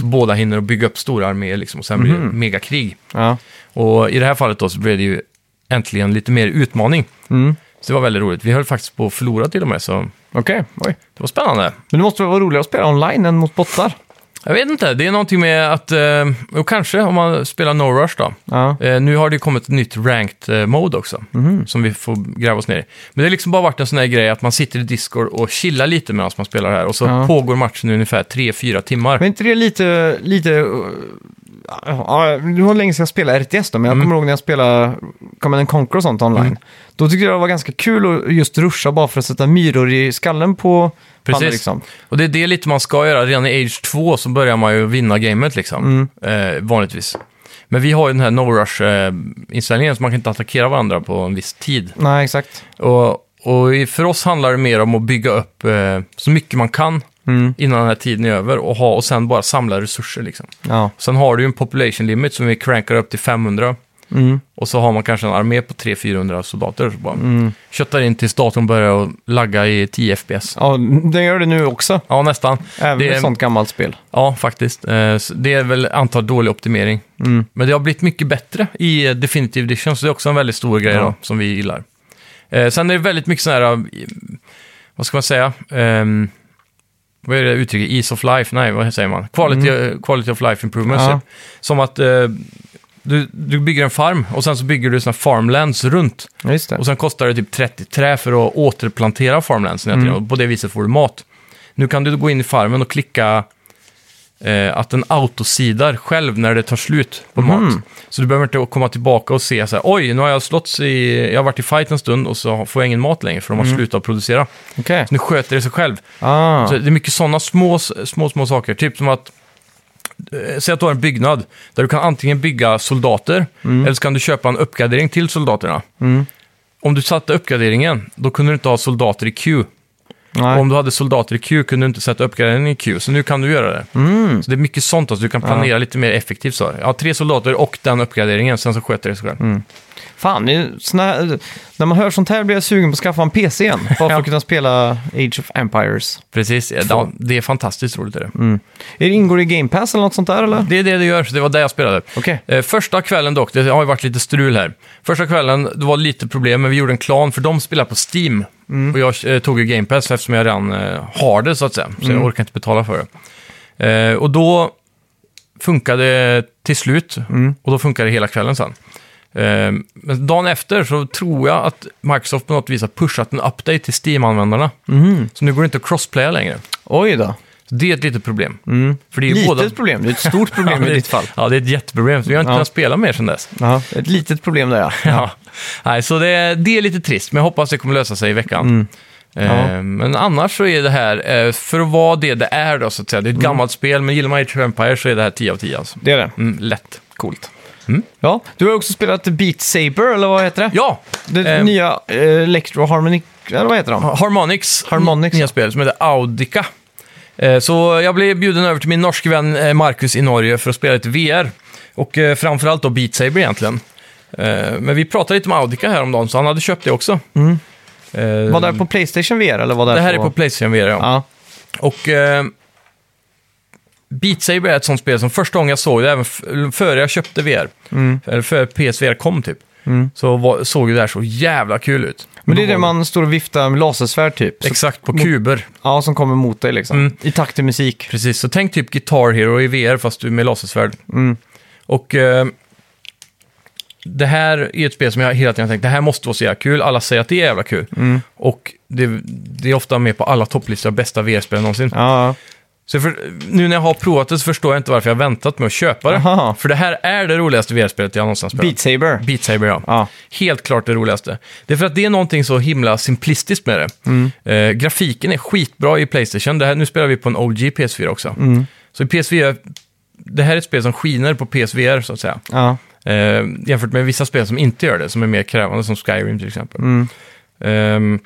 S2: Så båda hinner att bygga upp stora arméer liksom, och sen blir det megakrig.
S1: Ja.
S2: Och i det här fallet då så blev det ju äntligen lite mer utmaning.
S1: Mm.
S2: Så det var väldigt roligt. Vi höll faktiskt på att förlora till och med, så
S1: Okej. Oj.
S2: det var spännande.
S1: Men det måste väl vara roligare att spela online än mot bottar?
S2: Jag vet inte, det är någonting med att, eh, och kanske om man spelar No Rush då.
S1: Ja.
S2: Eh, nu har det ju kommit ett nytt ranked eh, mode också,
S1: Mhm.
S2: som vi får gräva oss ner i. Men det har liksom bara varit en sån här grej att man sitter i Discord och chillar lite medan man spelar här. Och så
S1: Ja.
S2: pågår matchen i ungefär 3-4 timmar.
S1: Men inte det lite... lite uh, ja, det var länge sedan jag spelade RTS då, men jag
S2: Mm.
S1: kommer ihåg när jag spelade Command and Conquer och sånt online. Då tyckte jag det var ganska kul att just ruscha bara för att sätta myror i skallen på
S2: Precis.
S1: andra, liksom.
S2: Och det är det lite man ska göra. Redan i Age 2 så börjar man ju vinna gamet
S1: Mm.
S2: liksom, eh, vanligtvis. Men vi har ju den här No Rush-inställningen, så man kan inte attackera varandra på en viss tid.
S1: Nej, exakt.
S2: Och, och i- för oss handlar det mer om att bygga upp eh, så mycket man kan
S1: Mm.
S2: innan den här tiden är över och, ha, och sen bara samla resurser. Liksom.
S1: Ja.
S2: Sen har du ju en population limit som vi crankar upp till 500
S1: Mm.
S2: och så har man kanske en armé på 300-400 soldater. Så bara
S1: Mm.
S2: köttar in tills datorn börjar att lagga i 10 FPS.
S1: ja, den gör det nu också.
S2: Ja, nästan.
S1: Även
S2: Det-
S1: ett sånt gammalt spel.
S2: Ja, faktiskt. Eh, så Det är väl antal dålig optimering.
S1: Mm.
S2: Men det har blivit mycket bättre i eh, Definitive Edition, så det är också en väldigt stor grej
S1: Ja.
S2: då, som vi gillar. Eh, Sen är det väldigt mycket sådana här, eh, vad ska man säga, Ehm, vad är det uttrycket, Ease of Life? Nej, vad säger man? Quality, eh, quality of Life Improvements.
S1: Mm. Ja.
S2: typ. Som att eh, du, du bygger en farm och sen så bygger du sådana farmlands runt.
S1: Ja, just det.
S2: Och sen kostar det typ 30 trä för att återplantera farmlandsen hela tiden. Och på det viset får du mat. Nu kan du gå in i farmen och klicka eh, att den autosidar själv när det tar slut på mat. Så du behöver inte komma tillbaka och se så här, oj, nu har jag slåtts i, jag har varit i fight en stund och så får jag ingen mat längre för de har slutat producera.
S1: Okej.
S2: Så nu sköter det sig själv.
S1: Ah.
S2: Så det är mycket sådana små, små, små saker. Typ som att, eh, säg att du har en byggnad där du kan antingen bygga soldater eller så kan du köpa en uppgradering till soldaterna. Om du satte uppgraderingen, då kunde du inte ha soldater i Q.
S1: Nej.
S2: Och om du hade soldater i Q kunde du inte sätta uppgraderingen i Q, så nu kan du göra det. Så det är mycket sånt, alltså, du kan planera lite mer effektivt. Så. Jag har tre soldater och den uppgraderingen, sen så sköter det sig själv.
S1: Fan, det är såna här, när man hör sånt här blir jag sugen på att skaffa en PC igen. Bara för
S2: Ja.
S1: att kunna spela Age of Empires.
S2: Precis, ja, det är fantastiskt roligt. Är det.
S1: Är det ingår i Game Pass eller något sånt där eller?
S2: det är det det gör, så det var där jag spelade.
S1: Okej.
S2: Eh, Första kvällen dock, det har ju varit lite strul här. Första kvällen, det var lite problem, men vi gjorde en klan för de spelar på Steam.
S1: Mm.
S2: Och jag eh, tog ju Game Pass eftersom jag redan eh, har det så att säga. Så
S1: Mm.
S2: jag orkar inte betala för det. Eh, och då funkade det till slut
S1: Mm.
S2: och då funkade det hela kvällen sen. Eh, men dagen efter så tror jag att Microsoft på något vis har pushat en update till Steam-användarna.
S1: Mm.
S2: Så nu går det inte att crossplaya längre.
S1: Oj då.
S2: Så det är ett litet problem. För det är
S1: Mm.
S2: ju
S1: Litet
S2: båda...
S1: problem, det är ett stort
S2: Ja,
S1: problem
S2: det
S1: i
S2: är-
S1: ditt fall.
S2: Ja, det är ett jätteproblem. Så vi har inte
S1: Ja.
S2: kunnat spela mer sedan dess.
S1: Ja, ett litet problem där ja. Mm.
S2: Ja. Nej, så det, det är lite trist, men jag hoppas det kommer lösa sig i veckan. Eh, Men annars så är det här, eh, för att vara det det är då så att säga, det är ett gammalt spel, men gillar man Age of Empires så är det här 10 av 10 alltså.
S1: Mm. Det är det.
S2: Mm, lätt.
S1: Coolt. Ja, du har också spelat Beat Saber, eller vad heter det?
S2: Ja!
S1: Det
S2: Eh,
S1: nya eh, Electro Harmonic, eller vad heter de?
S2: Harmonix,
S1: Harmonix,
S2: nya
S1: ja.
S2: spel som heter Audica. Eh, Så jag blev bjuden över till min norske vän eh, Marcus i Norge för att spela lite VR. Och eh, framförallt då Beat Saber egentligen. Eh, Men vi pratade lite om Audica häromdagen, så han hade köpt det också.
S1: Mm.
S2: Eh,
S1: Var det här på Playstation VR, eller var det
S2: det här är på Playstation VR, ja.
S1: Ja.
S2: Och eh, Beat Saber är ett sånt spel som första gången jag såg det, även f- före jag köpte VR,
S1: Mm.
S2: eller före PSVR kom typ, så var, såg ju det här så jävla kul ut.
S1: Men det är det man står och viftar med lasersvärd typ. Så,
S2: Exakt, på kuber.
S1: ja, som kommer mot dig liksom.
S2: Mm.
S1: I takt till musik.
S2: Precis, så tänk typ Guitar Hero i VR fast du med lasersvärd. Mm. Och eh, det här är ett spel som jag hela tiden har tänkt, det här måste vara så jävla kul, alla säger att det är jävla kul.
S1: Mm.
S2: Och det, det är ofta med på alla topplistor av bästa VR-spel någonsin.
S1: Ja,
S2: Så för, nu när jag har provat det så förstår jag inte varför jag har väntat med att köpa det.
S1: Aha.
S2: För det här är det roligaste VR-spelet jag någonsin har spelat.
S1: Beat Saber.
S2: Beat Saber, ja.
S1: Ja.
S2: Helt klart det roligaste. Det är för att det är någonting så himla simplistiskt med det. Eh, grafiken är skitbra i Playstation. Det här, nu spelar vi på en OG PS4 också. Så i PS4, det här är ett spel som skiner på PSVR så att säga.
S1: Ja.
S2: Eh, jämfört med vissa spel som inte gör det, som är mer krävande, som Skyrim till exempel. Ehm,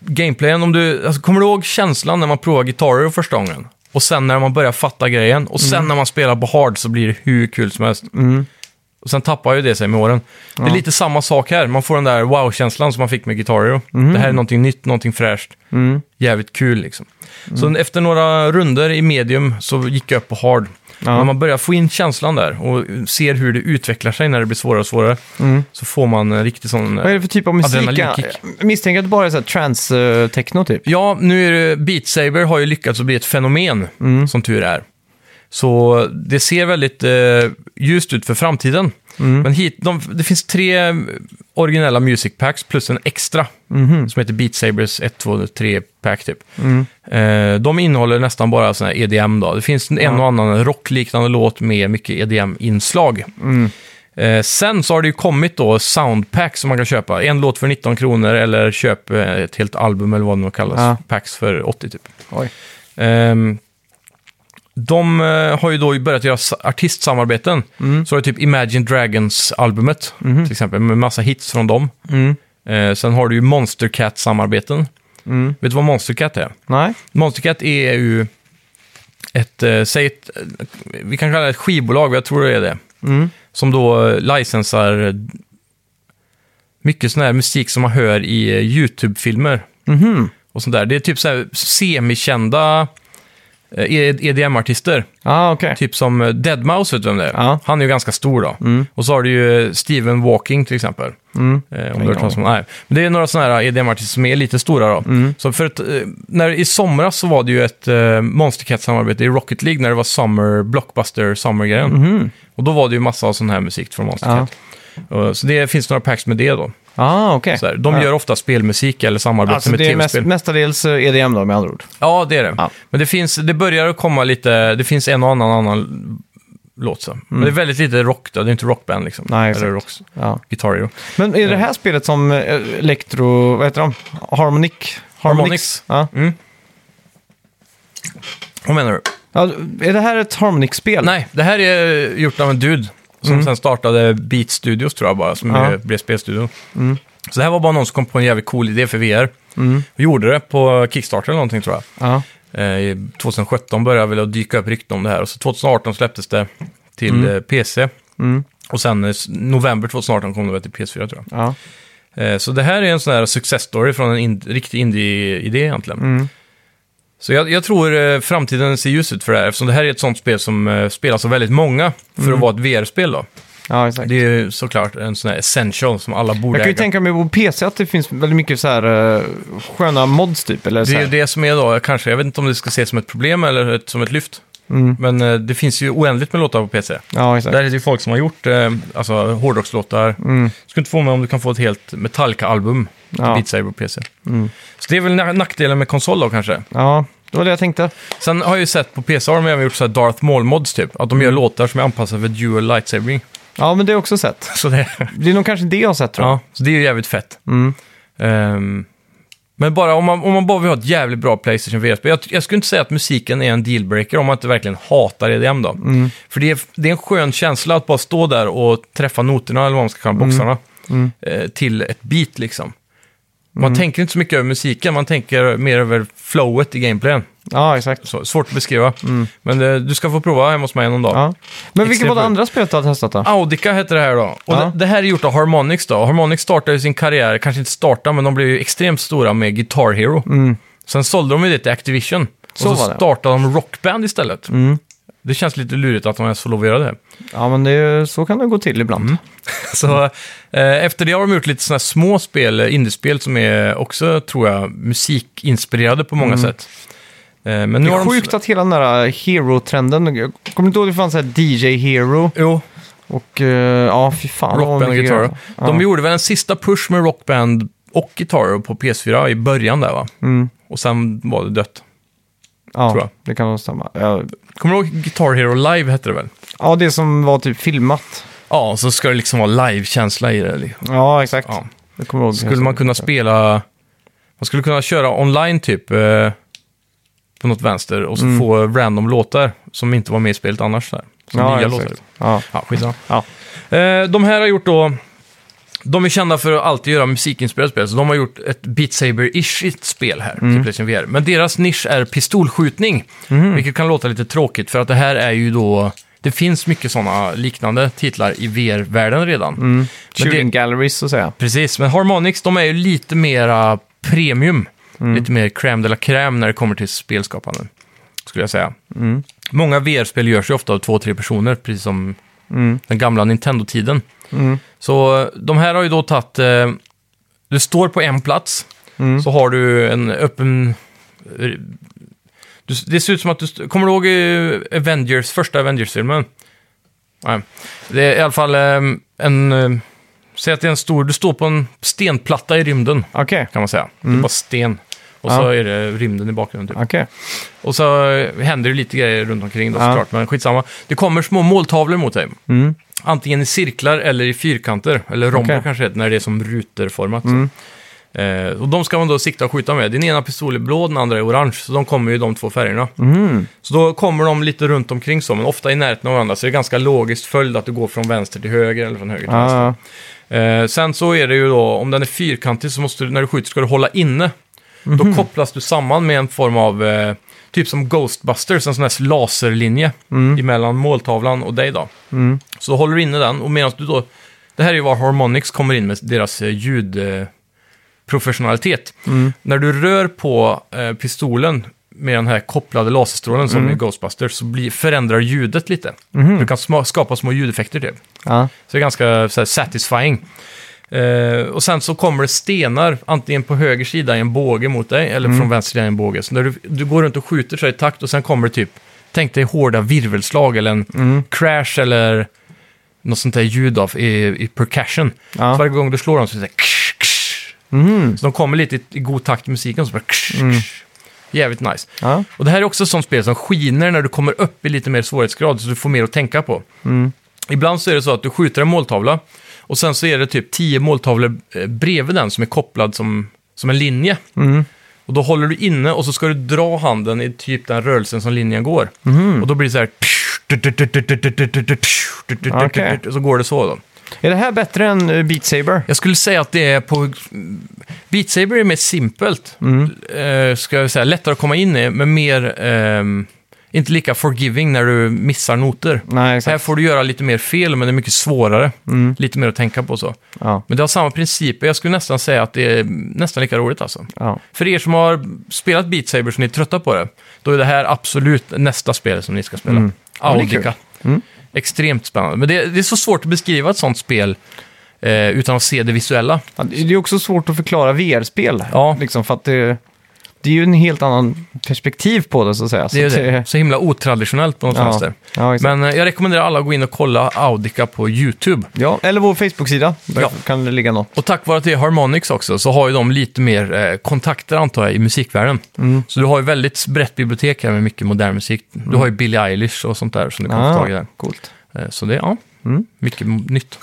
S2: gameplayen, om du, alltså, kommer du ihåg känslan när man provar gitarrer första gången? Och sen när man börjar fatta grejen, och sen
S1: Mm.
S2: när man spelar på hard så blir det hur kul som helst. Och sen tappar ju det sig med åren. Det är lite samma sak här, man får den där wow-känslan som man fick med Guitar Hero.
S1: Mm.
S2: Det här är någonting nytt, någonting fräscht, jävligt kul liksom.
S1: Mm.
S2: Så efter några runder i medium så gick jag upp på hard. När man börjar få in känslan där och ser hur det utvecklar sig när det blir svårare och svårare, så får man en riktig sån...
S1: Mm. Vad är det för typ av musik?
S2: Adrenalinkick.
S1: Jag misstänker att det bara är så här trance-techno typ.
S2: Ja, nu är det, Beat Saber har ju lyckats att bli ett fenomen, som tur är. Så det ser väldigt eh, ljust ut för framtiden. Men hit, de, det finns tre originella music packs plus en extra som heter Beat Sabers 1, 2, 3 pack typ. Eh, de innehåller nästan bara sån här EDM då. Det finns en och annan rockliknande låt med mycket EDM-inslag. Eh, sen så har det ju kommit då soundpack som man kan köpa. En låt för 19 kronor eller köp eh, ett helt album eller vad det nu kallas.
S1: Ja.
S2: Packs för 80 typ.
S1: Oj.
S2: Ehm, de eh, har ju då börjat göra s- artistsamarbeten. Så har du typ Imagine Dragons-albumet, till exempel, med massa hits från dem.
S1: Mm.
S2: Eh, sen har du ju Monster Cat-samarbeten. Vet du vad Monster Cat är?
S1: Nej?
S2: Monster Cat är ju ett, eh, säg ett, eh, vi kan kalla det ett skivbolag, jag tror det är det. Som då eh, licensar eh, mycket sån här musik som man hör i eh, YouTube-filmer. Och sånt där. Det är typ så här semikända eh, EDM-artister.
S1: Ja, ah, okej.
S2: Typ som eh, Deadmau5, vet du vem det är?
S1: Ja. Mm.
S2: Han är ju ganska stor då. Och så har du ju eh, Stephen Walking till exempel. Eh, om du har hört talas om nej. Men det är några sådana här EDM-artister som är lite stora då.
S1: Mm.
S2: Så för att, eh, när, I somras så var det ju ett eh, Monster Cat-samarbete i Rocket League när det var Summer Blockbuster Summer-grejen. Och då var det ju massa av sån här musik från Monster
S1: Mhm. Ja.
S2: Cat. Eh, Så det finns några packs med det då.
S1: Ah, okej.
S2: Så här, de
S1: Ja.
S2: gör ofta spelmusik eller samarbete
S1: Alltså
S2: med
S1: det är
S2: tv-spel.
S1: mest, mestadels eh, EDM då med andra ord.
S2: Ja, det är det.
S1: Ja.
S2: Men det, finns, det börjar att komma lite, det finns en och annan annan låt så. Men det är väldigt lite rock då, det är inte rockband liksom.
S1: Mm. Nej,
S2: Eller
S1: exakt.
S2: rock,
S1: Ja.
S2: Guitar Hero.
S1: Men är det här spelet som eh, elektro... Vad heter de? Harmonic?
S2: Harmonix.
S1: Ja.
S2: Vad menar du?
S1: ja. Är det här ett Harmonic-spel?
S2: Nej, det här är gjort av en dude som sen startade Beat Studios tror jag bara, som
S1: Mm. Ja. Mm.
S2: blev- blev spelstudion. Så det här var bara någon som kom på en jävligt cool idé för VR. Och gjorde det på Kickstarter eller någonting tror jag.
S1: Ja.
S2: Eh, i 2017 började väl att dyka upp rykten om det här och så 2018 släpptes det till
S1: Mm.
S2: eh, PC. Och sen eh, s- november 2018 kom det väl till PS4 tror jag.
S1: ja.
S2: Eh, Så det här är en sån här success story från en in- riktig indie-idé egentligen.
S1: Mm.
S2: Så jag, jag tror eh, framtiden ser ljus ut för det här, eftersom det här är ett sånt spel som eh, spelas av väldigt många för att vara ett VR-spel då.
S1: Ja, Mm. exakt.
S2: Det är ju såklart en sån här essential som alla borde
S1: Jag kan ju
S2: äga.
S1: tänka mig på PC att det finns väldigt mycket så här eh, sköna mods typ. Eller
S2: det
S1: så
S2: är
S1: här.
S2: ju det som är då, kanske, jag vet inte om det ska ses som ett problem eller ett, som ett lyft.
S1: Mm.
S2: Men eh, det finns ju oändligt med låtar på PC.
S1: Ja, exakt.
S2: Där är det ju folk som har gjort eh, alltså, hårdrockslåtar. Mm. Skulle inte få mig om du kan få ett helt Metallica-album till
S1: Ja.
S2: Beat Saber på PC. Så det är väl na- nackdelen med konsol då kanske.
S1: Ja, det var det jag tänkte.
S2: Sen har jag ju sett på PC har de även gjort så här Darth Maul-mods typ. Att de gör låtar som är anpassade för dual lightsabering.
S1: Ja, men det är också sett.
S2: Så det,
S1: Det är nog kanske det jag har sett tror jag.
S2: ja, så det är ju jävligt fett. Ehm, Men bara om man, om man bara vill ha ett jävligt bra Playstation VR-spel. Jag, jag skulle inte säga att musiken är en dealbreaker om man inte verkligen hatar EDM då. För det är, det är en skön känsla att bara stå där och träffa noterna, eller vad man ska kalla boxarna, eh, till ett beat liksom. Man tänker inte så mycket över musiken, man tänker mer över flowet i gameplayen.
S1: Ja, exakt.
S2: Så, svårt att beskriva. Men eh, du ska få prova hemma hos mig någon dag.
S1: Ja. Men vilket var det
S2: Extremt-
S1: andra spelet du har testat då?
S2: Audica heter det här då. Och
S1: Ja.
S2: det, det här är gjort av Harmonix då. Harmonix startade ju sin karriär, kanske inte starta, men de blev ju extremt stora med Guitar Hero. Sen sålde de ju det till Activision.
S1: Mm. Så var
S2: och så
S1: det. Mm.
S2: startade de Rockband istället. Det känns lite lurigt att de ens får lov att göra det.
S1: Ja, men det, är- så kan det gå till ibland.
S2: Mm. Så eh, efter det har de gjort lite sådana här små spel, eh, indiespel som är också, tror jag, musikinspirerade på många sätt. Eh, men nu
S1: Mm. Det
S2: har
S1: är
S2: de...
S1: sjukt att hela den där eh, hero-trenden, jag kommer inte ihåg det fanns så här DJ Hero
S2: Jo,
S1: och eh, ja, fy fan. vad
S2: Rockband och
S1: mycket
S2: Guitar.
S1: grejer.
S2: De gjorde väl en sista push med Rockband och Guitar på PS4 i början där va? Och sen var det dött.
S1: mm. ja,
S2: tror jag.
S1: det kan nog stämma. Ja,
S2: Kommer du ihåg Guitar Hero Live hette det väl?
S1: ja, det som var typ filmat.
S2: Ja, så ska det liksom vara live-känsla i det. Liksom.
S1: Ja, exakt.
S2: Ja.
S1: Det kommer jag ihåg.
S2: Skulle man kunna spela... Man skulle kunna köra online typ eh, på något vänster och så
S1: Mm.
S2: få random låtar som inte var med i spelet annars. Där. Som
S1: ja,
S2: nya
S1: exakt.
S2: låtar. liksom.
S1: Ja.
S2: Ja, skitsamma.
S1: Ja.
S2: Eh, de här har gjort då... De är kända för att alltid göra musikinspirerade spel, så de har gjort ett Beat Saber-ish spel här
S1: Mm.
S2: till Playstation VR. Men deras nisch är pistolskjutning,
S1: Mm.
S2: vilket kan låta lite tråkigt för att det här är ju då... Det finns mycket sådana liknande titlar i VR-världen redan. Men det,
S1: Mm. Shooting galleries, så att säga.
S2: precis, men Harmonix de är ju lite mera premium. Lite mer crème de la crème när det kommer till spelskapande, skulle jag säga. Många VR-spel görs ju ofta av två, tre personer, precis som den gamla Nintendo-tiden. Så eh, de här har ju då tagit... Eh, du står på en plats, så har du en öppen... eh, Du, det ser ut som att du... st- Kommer du ihåg eh, Avengers, första Avengers-filmen? Nej. Det är i alla fall eh, en... Eh, säg att det är en stor... Du står på en stenplatta i rymden,
S1: Okej,
S2: kan man säga.
S1: Mm.
S2: Det är bara sten. Och så är det rymden i bakgrunden. Typ.
S1: okej.
S2: Och så eh, händer det lite grejer runt omkring då
S1: Ja. Mm.
S2: såklart, men skitsamma. Det kommer små måltavlor mot dig. Antingen i cirklar eller i fyrkanter, eller romber
S1: Okej. Mm.
S2: kanske det heter, när det är som ruterformat. så. Eh, och de ska man då sikta och skjuta med. Den ena pistol är blå, den andra är orange, så de kommer ju i de två färgerna.
S1: Mm.
S2: Så då kommer de lite runt omkring så, men ofta i närheten av varandra, så det är ganska logiskt följd att du går från vänster till höger eller från höger till vänster.
S1: Ja,
S2: Eh, sen så är det ju då, om den är fyrkantig så måste du, när du skjuter ska du hålla inne. Då kopplas du samman med en form av, eh, typ som Ghostbusters, en sån här laserlinje emellan måltavlan och dig då. Så håller du inne den och medan du då, det här är ju var Harmonix kommer in med deras eh, ljud... Eh, professionalitet. När du rör på eh, pistolen med den här kopplade laserstrålen som i Ghostbusters så blir, förändrar ljudet lite. Du kan sma- skapa små ljudeffekter typ.
S1: ja.
S2: Så det är ganska så här, satisfying. Eh, och sen så kommer det stenar, antingen på höger sida i en båge mot dig, eller
S1: Mm.
S2: från vänster sida i en båge. Så när du, du går runt och skjuter så i takt och sen kommer det typ, tänk dig hårda virvelslag eller en
S1: Mm.
S2: crash eller något sånt där ljud av i, i percussion.
S1: Ja. Mm.
S2: Så varje gång du slår dem så är det så här, ksh, ksh. Så de kommer lite i, i god takt med musiken så bara ksh, ksh. Jävligt nice.
S1: Ja.
S2: Och det här är också ett sånt spel som skiner när du kommer upp i lite mer svårighetsgrad, så du får mer att tänka på. Ibland så är det så att du skjuter en måltavla och sen så är det typ tio måltavlor eh, bredvid den som är kopplad som, som en linje. Och då håller du inne och så ska du dra handen i typ den rörelsen som linjen går. Och då blir det så här...
S1: Okej.
S2: Så går det så då.
S1: Är det här bättre än eh, Beat Saber?
S2: Jag skulle säga att det är på... Beat Saber är mer simpelt. Eh, ska jag säga. Lättare att komma in i, men mer... ehm, inte lika forgiving när du missar noter.
S1: Nej,
S2: Här
S1: exakt.
S2: får du göra lite mer fel, men det är mycket svårare. Lite mer att tänka på och så.
S1: Ja,
S2: Men det har samma principer. Jag skulle nästan säga att det är nästan lika roligt alltså.
S1: ja.
S2: För er som har spelat Beat Saber så ni är trötta på det, då är det här absolut nästa spel som ni ska spela.
S1: Mm. det är kul. Mm.
S2: Audica. Extremt spännande. Men det, det är så svårt att beskriva ett sånt spel eh, utan att se det visuella.
S1: Ja, Det det är också svårt att förklara VR-spel.
S2: Ja.
S1: Liksom, för att det, det är ju en helt annan perspektiv på det, så att säga.
S2: Det är
S1: så
S2: det. Så himla otraditionellt på något
S1: Ja.
S2: vänster.
S1: Ja, exakt.
S2: Men eh, jag rekommenderar alla att gå in och kolla Audica på YouTube.
S1: ja, eller vår Facebook-sida. Där
S2: Ja.
S1: kan det ligga något.
S2: Och tack vare att det är Harmonix också så har ju de lite mer eh, kontakter antar jag i musikvärlden. Så du har ju väldigt brett bibliotek här med mycket modern musik. Du har ju Billie Eilish och sånt där som du kan få tag i där.
S1: coolt.
S2: Eh, Så det, ja. Mycket m- nytt.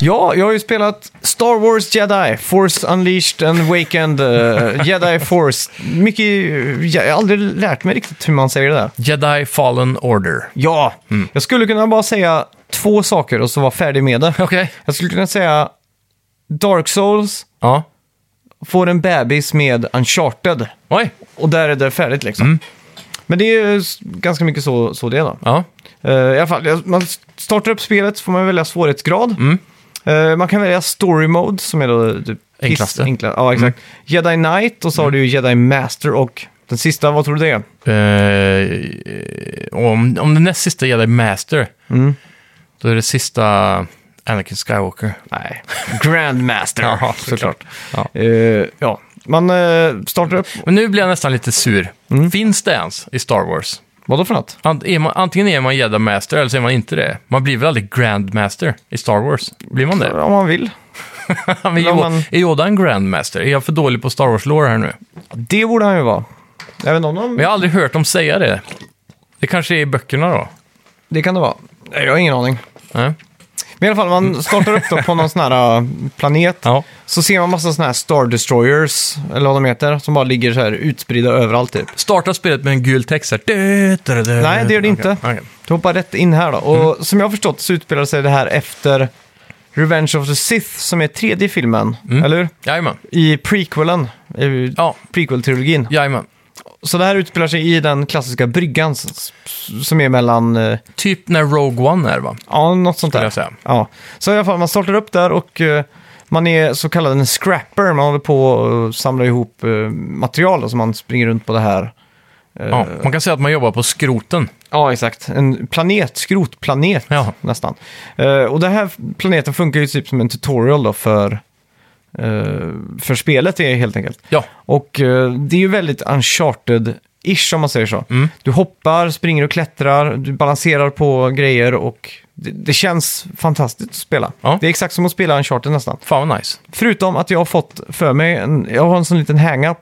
S1: Ja, jag har ju spelat Star Wars Jedi, Force Unleashed and Wakened, eh, Jedi Force. Mycket, eh, jag har aldrig lärt mig riktigt hur man säger det där.
S2: Jedi Fallen Order.
S1: Ja, jag skulle kunna bara säga två saker och så vara färdig med det.
S2: Okej.
S1: Jag skulle kunna säga Dark Souls
S2: Ja.
S1: får en bebis med Uncharted.
S2: Oj.
S1: Och där är det färdigt liksom.
S2: Mm.
S1: Men det är ju s- ganska mycket så, så det är då.
S2: Ja.
S1: Eh, I alla fall, jag- man startar upp spelet så får man välja svårighetsgrad.
S2: Mm.
S1: Eh, man kan välja story mode som är då typ piss-
S2: Enklaste. Mm.
S1: Enkla, ja, exakt. Jedi Knight och så har du ju Jedi Master och den sista, vad tror du det är?
S2: Eh, om, om den näst sista Jedi Master, då är det sista Anakin Skywalker.
S1: Nej, Grandmaster.
S2: Ja, såklart. Ja.
S1: Eh, ja, man eh, startar upp,
S2: Men nu blir jag nästan lite sur. Finns det ens i Star Wars?
S1: vadå för något?
S2: Ant- är man, antingen är man Jedi Master eller så är man inte det. Man blir väl aldrig Grand Master i Star Wars? Blir man det?
S1: Om man vill.
S2: Men
S1: om
S2: Yoda,
S1: man-
S2: Är Yoda en Grand Master? Är jag för dålig på Star Wars-lore här nu?
S1: Det borde han ju vara. Även om de...
S2: Men jag har aldrig hört dem säga det. Det kanske är i böckerna då?
S1: Det kan det vara. Nej, jag har ingen aning.
S2: Nej.
S1: Men i alla fall, man startar upp då på någon sån här äh, planet.
S2: Mm. Ja.
S1: Så ser man massa såna här Star Destroyers, eller vad de heter, som bara ligger så här utspridda överallt typ.
S2: Starta spelet med en gul text här. Du, du, du.
S1: Nej, det gör det inte.
S2: Eh, Okej, Mm. okej.
S1: Du hoppar rätt in här då. Och som jag har förstått så utspelar sig det här efter Revenge of the Sith, som är tredje filmen, eller hur?
S2: Jajamän.
S1: I prequelen, i
S2: Mm. Ja.
S1: prequel-trilogin.
S2: Jajamän.
S1: Så det här utspelar sig i den klassiska bryggan s- s- som är mellan, eh,
S2: Typ när Rogue One är va?
S1: ja, något sånt där.
S2: Skulle jag säga.
S1: Ja, så i alla fall man startar upp där och eh, man är så kallad en scrapper. Man håller på och samlar ihop eh, material då, som man springer runt på det här. eh,
S2: Ja, man kan säga att man jobbar på skroten.
S1: Ja, exakt. En planet, skrotplanet
S2: Ja.
S1: nästan. Eh, och den här planeten funkar ju typ som en tutorial då för, eh, för spelet är helt enkelt.
S2: Ja,
S1: Och eh, det är ju väldigt uncharted-ish om man säger så.
S2: Mm.
S1: Du hoppar, springer och klättrar, du balanserar på grejer och det, det känns fantastiskt att spela.
S2: Ja.
S1: Det är exakt som att spela uncharted nästan.
S2: fan vad nice.
S1: Förutom att jag har fått för mig, en, jag har en sån liten hang-up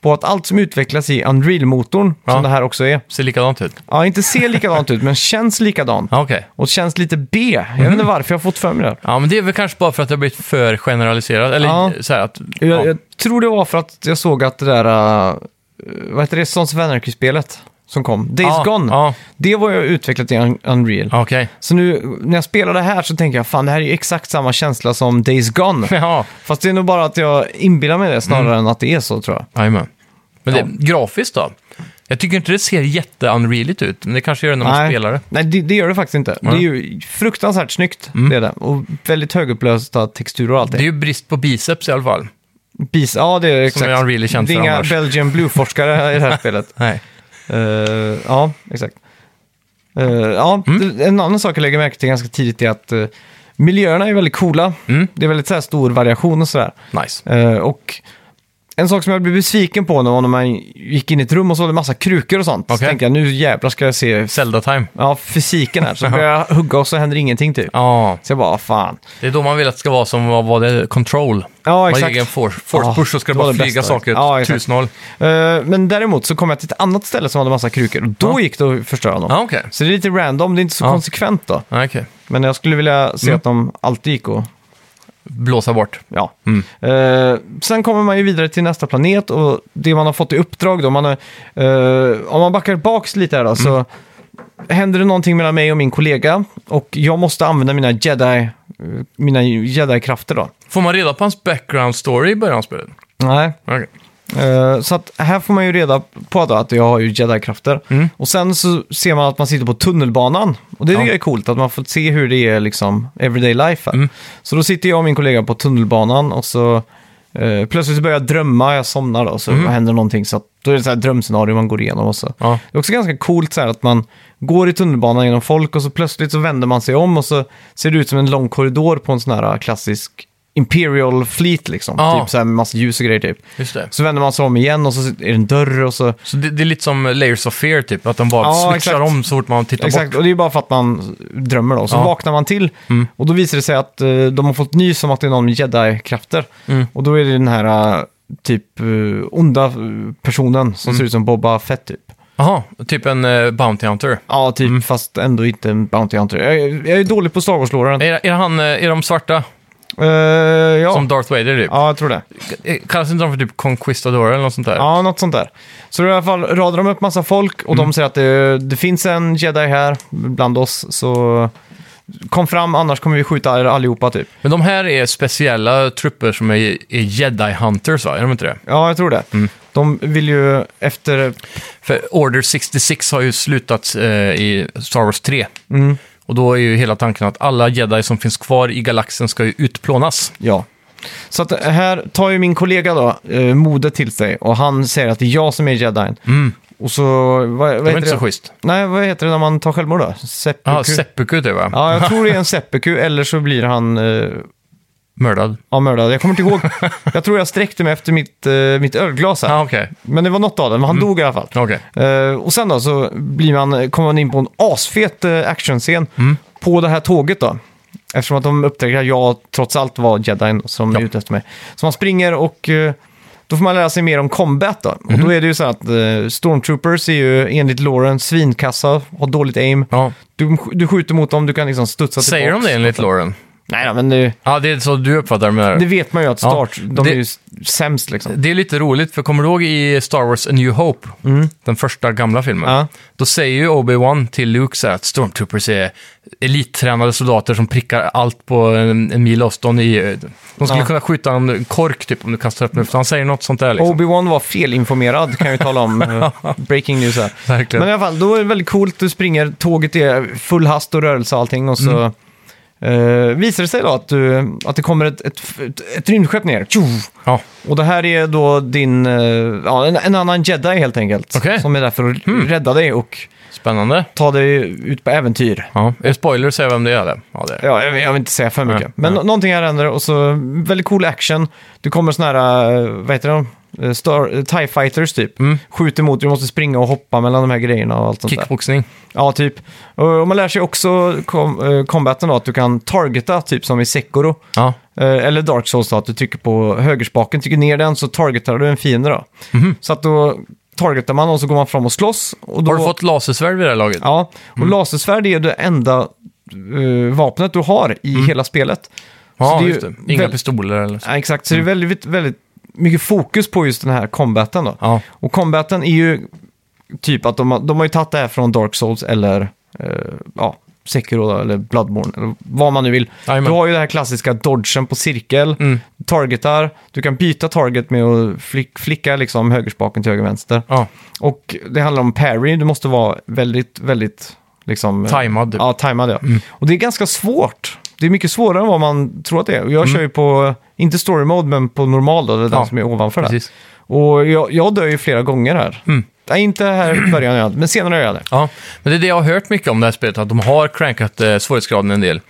S1: på att allt som utvecklas i Unreal-motorn,
S2: Mm. Ja.
S1: som det här också är,
S2: Ser likadant ut.
S1: ja, inte ser likadant ut men känns likadant.
S2: Ja, Mm. okej.
S1: Och känns lite B. Jag vet inte varför jag har fått för mig det.
S2: Ja, men det är väl kanske bara för att jag blivit för generaliserad. Eller
S1: Ja.
S2: så här att...
S1: Jag,
S2: ja.
S1: jag tror det var för att jag såg att det där, eh, vad heter det, Sons of Anarchy-spelet som kom, Days
S2: Ja,
S1: Gone,
S2: Ja,
S1: det var ju utvecklat i Un- Unreal.
S2: Ja, okej.
S1: Så nu när jag spelar det här så tänker jag, fan det här är ju exakt samma känsla som Days Gone.
S2: Ja, Mm.
S1: Fast det är nog bara att jag inbillar mig det snarare än att det är så tror jag.
S2: jajamän. Men
S1: Ja.
S2: det, grafiskt då? Jag tycker inte det ser jätte-unrealigt ut, men det kanske gör det när man spelar det.
S1: Nej det, det gör det faktiskt inte. Det är ju fruktansvärt snyggt, det är det. Och väldigt högupplösta texturer och
S2: Mm. Det
S1: allting.
S2: är ju brist på biceps i alla fall.
S1: Bis, ja, det är exakt.
S2: är Unreal är känd
S1: det är
S2: för
S1: inga
S2: annars.
S1: Belgian Blue-forskare i det här spelet.
S2: Nej.
S1: Eh, ja, exakt. Eh, ja,
S2: Mm.
S1: d- En annan sak jag lägger märke till ganska tidigt är att eh, miljöerna är väldigt coola. Det är väldigt så här, stor variation och sådär.
S2: Mm. Nice.
S1: Eh, och en sak som jag blev besviken på när man gick in i ett rum och så var det massa krukor och sånt. Så
S2: Okej.
S1: tänkte jag, nu jävlar ska jag se
S2: Zelda-time.
S1: ja, fysiken här. Så började jag hugga och så händer ingenting typ.
S2: Ja,
S1: Så jag bara, fan.
S2: det är då man vill att det ska vara som, vad var det, control?
S1: Ja,
S2: Man
S1: exakt.
S2: ger en force, force
S1: Ja,
S2: push och ska
S1: det
S2: det
S1: var
S2: bara
S1: det
S2: flyga
S1: bästa.
S2: saker
S1: Ja,
S2: ja,
S1: exakt.
S2: tusenhåll.
S1: Eh, men däremot så kom jag till ett annat ställe som hade massa krukor och då
S2: Ja.
S1: gick det att förstöra dem.
S2: Ja, okej.
S1: Så det är lite random, det är inte så
S2: Ja.
S1: konsekvent då.
S2: Ja, okej.
S1: Men jag skulle vilja se
S2: Mm.
S1: att de alltid gick och...
S2: Blåsa bort.
S1: Ja.
S2: Mm.
S1: Eh, sen kommer man ju vidare till nästa planet och det man har fått i uppdrag då. Man har, eh, om man backar baks lite här då så händer det någonting mellan mig och min kollega och jag måste använda mina jedi, eh, mina jedi-krafter då.
S2: Får man reda på hans background story i början av spelet?
S1: Nej.
S2: Okej.
S1: Eh, Så att här får man ju reda på då att jag har ju jedi-krafter. Och sen så ser man att man sitter på tunnelbanan. Och det tycker
S2: Mm. Ja.
S1: jag är coolt, att man får se hur det är liksom everyday life här.
S2: Mm.
S1: Så då sitter jag och min kollega på tunnelbanan och så eh, plötsligt börjar jag drömma, jag somnar då, så händer någonting. Så att, då är det så här drömscenario man går igenom och så.
S2: Mm. Ja.
S1: Det är också ganska coolt så här att man går i tunnelbanan genom folk och så plötsligt så vänder man sig om och så ser det ut som en lång korridor på en sån här klassisk Imperial Fleet liksom.
S2: Ja.
S1: Typ så här med massa ljus och grejer typ.
S2: Just det.
S1: Så vänder man sig om igen och så är det en dörr och så...
S2: Så det, det är lite som Layers of Fear typ, att de bara
S1: Ja,
S2: switchar
S1: exakt.
S2: om så fort man tittar
S1: Exakt,
S2: bort.
S1: och det är bara för att man drömmer då. Så
S2: Ja.
S1: vaknar man till och då visar det sig att eh, de har fått nys om att det är någon med jedi-krafter. Och då är det den här eh, typ eh, onda eh, personen som ser ut som Boba Fett typ. Mm.
S2: Jaha, typ en eh, Bounty Hunter.
S1: Ja, typ, fast ändå inte en Bounty Hunter. Jag, jag är dålig på Star Wars-låren.
S2: Är, är, han, eh, är de svarta?
S1: Eh, ja.
S2: Som Darth Vader typ.
S1: ja, jag tror det.
S2: Eh, Kallas inte de för typ Conquistador eller något sånt där?
S1: Ja, något sånt där. Så i alla fall radar de upp massa folk och
S2: Mm.
S1: de säger att det, det finns en jedi här bland oss, så kom fram annars kommer vi skjuta er allihopa typ.
S2: Men de här är speciella trupper som är, är jedi hunters va? Är de inte det?
S1: Ja, jag tror det.
S2: Mm.
S1: De vill ju efter...
S2: För Order 66 har ju slutat eh, i Star Wars 3.
S1: Mm.
S2: Och då är ju hela tanken att alla jedi som finns kvar i galaxen ska ju utplånas.
S1: Ja. Så att här tar ju min kollega då eh, modet till sig och han säger att det är jag som är jedin. Och så... Vad, vad heter
S2: Mm. Det var inte så schysst.
S1: Nej, vad heter det när man tar självmord då? Seppuku?
S2: Ja, seppuku det va?
S1: ja, jag tror det är en seppuku eller så blir han eh,
S2: Mördad.
S1: ja, mördad. Jag kommer inte ihåg. jag tror jag sträckte mig efter mitt, eh, mitt ölglas här.
S2: Ja, Ah, Mm. okej.
S1: Men det var något av det, men han dog i alla fall.
S2: Okej.
S1: Eh, och sen då så blir man, kommer man in på en asfet eh, actionscen
S2: Mm.
S1: på det här tåget då. Eftersom att de upptäcker att jag trots allt var jedin som är ute efter mig. Så man springer och eh, då får man lära sig mer om combat då. Och
S2: Mm.
S1: då är det ju så här att eh, stormtroopers är ju enligt Lauren svinkassa, har dåligt aim.
S2: Ja.
S1: Du, du skjuter mot dem, du kan liksom studsa
S2: Säger de
S1: tillbaks.
S2: det enligt Lauren?
S1: Nej då, men det,
S2: Ja, det är så du uppfattar det med det här.
S1: det vet man ju att
S2: Ja,
S1: start, de
S2: det-
S1: är ju s- sämst liksom.
S2: Det är lite roligt, för kommer du ihåg i Star Wars A New Hope, den första gamla filmen?
S1: Ja.
S2: Då säger ju Obi-Wan till Luke så här att Stormtroopers är elittränade soldater som prickar allt på en, en mil avstånd. I, eh, de skulle
S1: Ja.
S2: kunna skjuta en kork typ om du kastar upp den. Så han säger något sånt där liksom.
S1: Obi-Wan var felinformerad, kan jag ju tala om. eh, Breaking news här.
S2: Verkligen.
S1: Men i alla fall, då är det väldigt coolt. Du springer, tåget är full hast och rörelse och allting. Och så
S2: Mm.
S1: eh, visar det sig då att, du, att det kommer ett, ett, ett, ett rymdskepp ner. Tjoff!
S2: Ja.
S1: Och det här är då din, eh, ja, en, en annan jedi helt enkelt.
S2: Okej. Hmm.
S1: Som är där för att rädda dig och
S2: Spännande.
S1: ta dig ut på äventyr.
S2: Ja. Är det spoiler att säga vem det är? Eller? Ja, det är det.
S1: Ja, jag, vill- jag vill inte säga för mycket.
S2: Nej,
S1: Men nå- någonting här händer och så väldigt cool action. Du kommer såna här, eh, vad heter de? Eh, Star, eh, TIE fighters typ.
S2: Mm.
S1: Skjuter mot, du måste springa och hoppa mellan de här grejerna och allt sånt där.
S2: Kickboxning.
S1: Ja, typ. Och och man lär sig också kom, eh, combaten då, att du kan targeta, typ som i Sekiro.
S2: Ja.
S1: Eh, Eller Dark Souls då, att du trycker på högerspaken, trycker ner den så targetar du en fiende då.
S2: Mhm.
S1: Så att då targetar man och så går man fram och slåss. Och då,
S2: Har du fått lasersvärd vid det här laget?
S1: Ja, och
S2: Mm.
S1: lasersvärd är det enda eh, vapnet du har i hela spelet.
S2: Mm. Ja,
S1: Så det är
S2: just
S1: ju
S2: det. Inga Mm.
S1: väl-
S2: pistoler eller så.
S1: Ja, exakt, så det är väldigt, väldigt mycket fokus på just den här combaten då.
S2: Ja.
S1: Och combaten är ju typ att de har, de har ju tagit det här från Dark Souls eller eh, ja, Sekiro då, eller Bloodborne eller vad man nu vill.
S2: Jajamän.
S1: Du har ju det här klassiska dodgen på cirkel,
S2: Mm.
S1: targetar, du kan byta target med att flick, flicka liksom högerspaken till höger och vänster.
S2: Ja.
S1: Och det handlar om parry, du måste vara väldigt, väldigt liksom... eh,
S2: Timad.
S1: Ja, tajmad ja.
S2: Mm.
S1: Och det är ganska svårt. Det är mycket svårare än vad man tror att det är. Och jag kör ju på, inte story mode, men på normal då, det är den
S2: Mm. Ja,
S1: som är ovanför där.
S2: Precis. Mm.
S1: Och jag, jag dör ju flera gånger här. Nej, inte här i början, jag- men senare gör jag det.
S2: Ja, men det är det jag har hört mycket om det här spelet, att de har crankat eh, svårighetsgraden en del.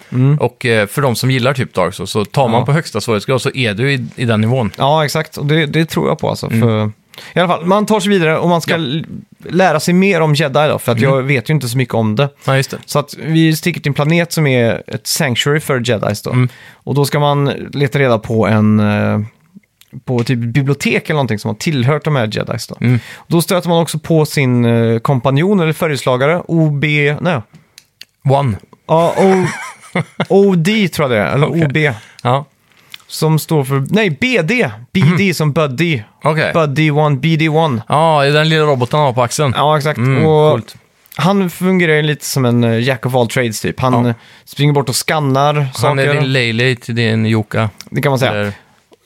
S2: Och eh, för de som gillar typ Dark Souls, så tar man
S1: Mm. Ja.
S2: på högsta svårighetsgrad så är du i, i den nivån.
S1: Ja, exakt. Och det, det tror jag på alltså.
S2: Mm.
S1: För, I alla fall, man tar sig vidare och man ska l- lära sig mer om Jedi då, för att
S2: Mm.
S1: jag vet ju inte så mycket om det.
S2: Ja, just det.
S1: Så att vi sticker till en planet som är ett sanctuary för jedis då. Och då ska man leta reda på en... eh, På typ bibliotek eller någonting som har tillhört de här jedis då. Och Då stöter man också på sin eh, kompanjon eller följeslagare, OB... Nej,
S2: One.
S1: ja, o, OD tror jag det är, eller
S2: Okej.
S1: OB.
S2: Ja,
S1: Som står för... Nej, BD! BD som Buddy.
S2: okej.
S1: Buddy 1, BD1.
S2: Ja, det är den lilla roboten han har på axeln.
S1: Ja, exakt.
S2: Mm,
S1: och
S2: coolt.
S1: Han fungerar ju lite som en eh, jack of all trades typ. Han
S2: Ja.
S1: eh, springer bort och skannar
S2: Han
S1: saker.
S2: är din Leili till din Joka.
S1: Det kan man säga.
S2: Eller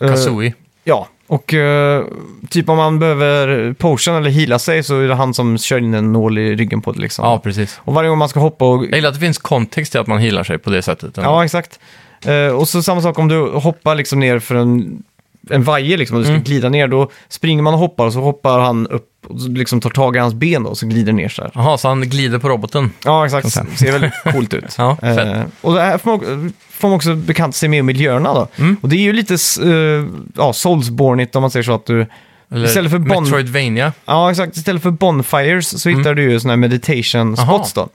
S1: Eh,
S2: Kazooie.
S1: ja, och eh, typ om man behöver potion eller heala sig så är det han som kör in en nål i ryggen på det liksom.
S2: Ja, precis.
S1: Och varje gång man ska hoppa och...
S2: Jag gillar att det finns kontext till att man healar sig på det sättet.
S1: Ja, exakt. Eh, och så samma sak om du hoppar liksom ner för en, en vajer liksom, och du ska
S2: Mm.
S1: glida ner. Då springer man och hoppar och så hoppar han upp och så liksom tar tag i hans ben då, och så glider ner så här.
S2: Jaha, så han glider på roboten.
S1: Ja, exakt. Ser väldigt coolt ut.
S2: Ja, fett.
S1: Eh, och det här får man, får man också bekanta sig med miljöerna då.
S2: Mm.
S1: Och det är ju lite uh, ja, Soulsborne-igt om man säger så att du...
S2: Eller
S1: istället för Bond-
S2: Metroidvania.
S1: Ja, exakt. Istället för bonfires så hittar du ju sådana här meditation
S2: Mm. Aha. Mm.
S1: spots då.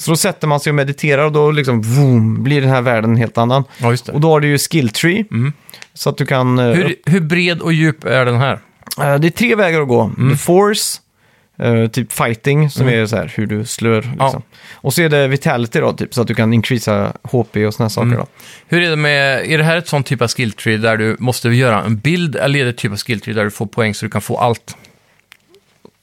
S1: Så då sätter man sig och mediterar och då liksom vroom, blir den här världen en helt annan.
S2: Ja, just det. Mm.
S1: Och då har du ju skill tree. Så att du kan... eh,
S2: Hur, hur bred och djup är den här? Mm.
S1: eh, det är tre vägar att gå. The force, eh, typ fighting, som är så här hur du slör. Liksom.
S2: Ja.
S1: Och så är det vitality då, typ, så att du kan increasa HP och sådana saker.
S2: Mm.
S1: Då.
S2: Hur är det med, är det här ett sånt typ av skilltree där du måste göra en bild, eller är det ett typ av skilltree där du får poäng så du kan få allt?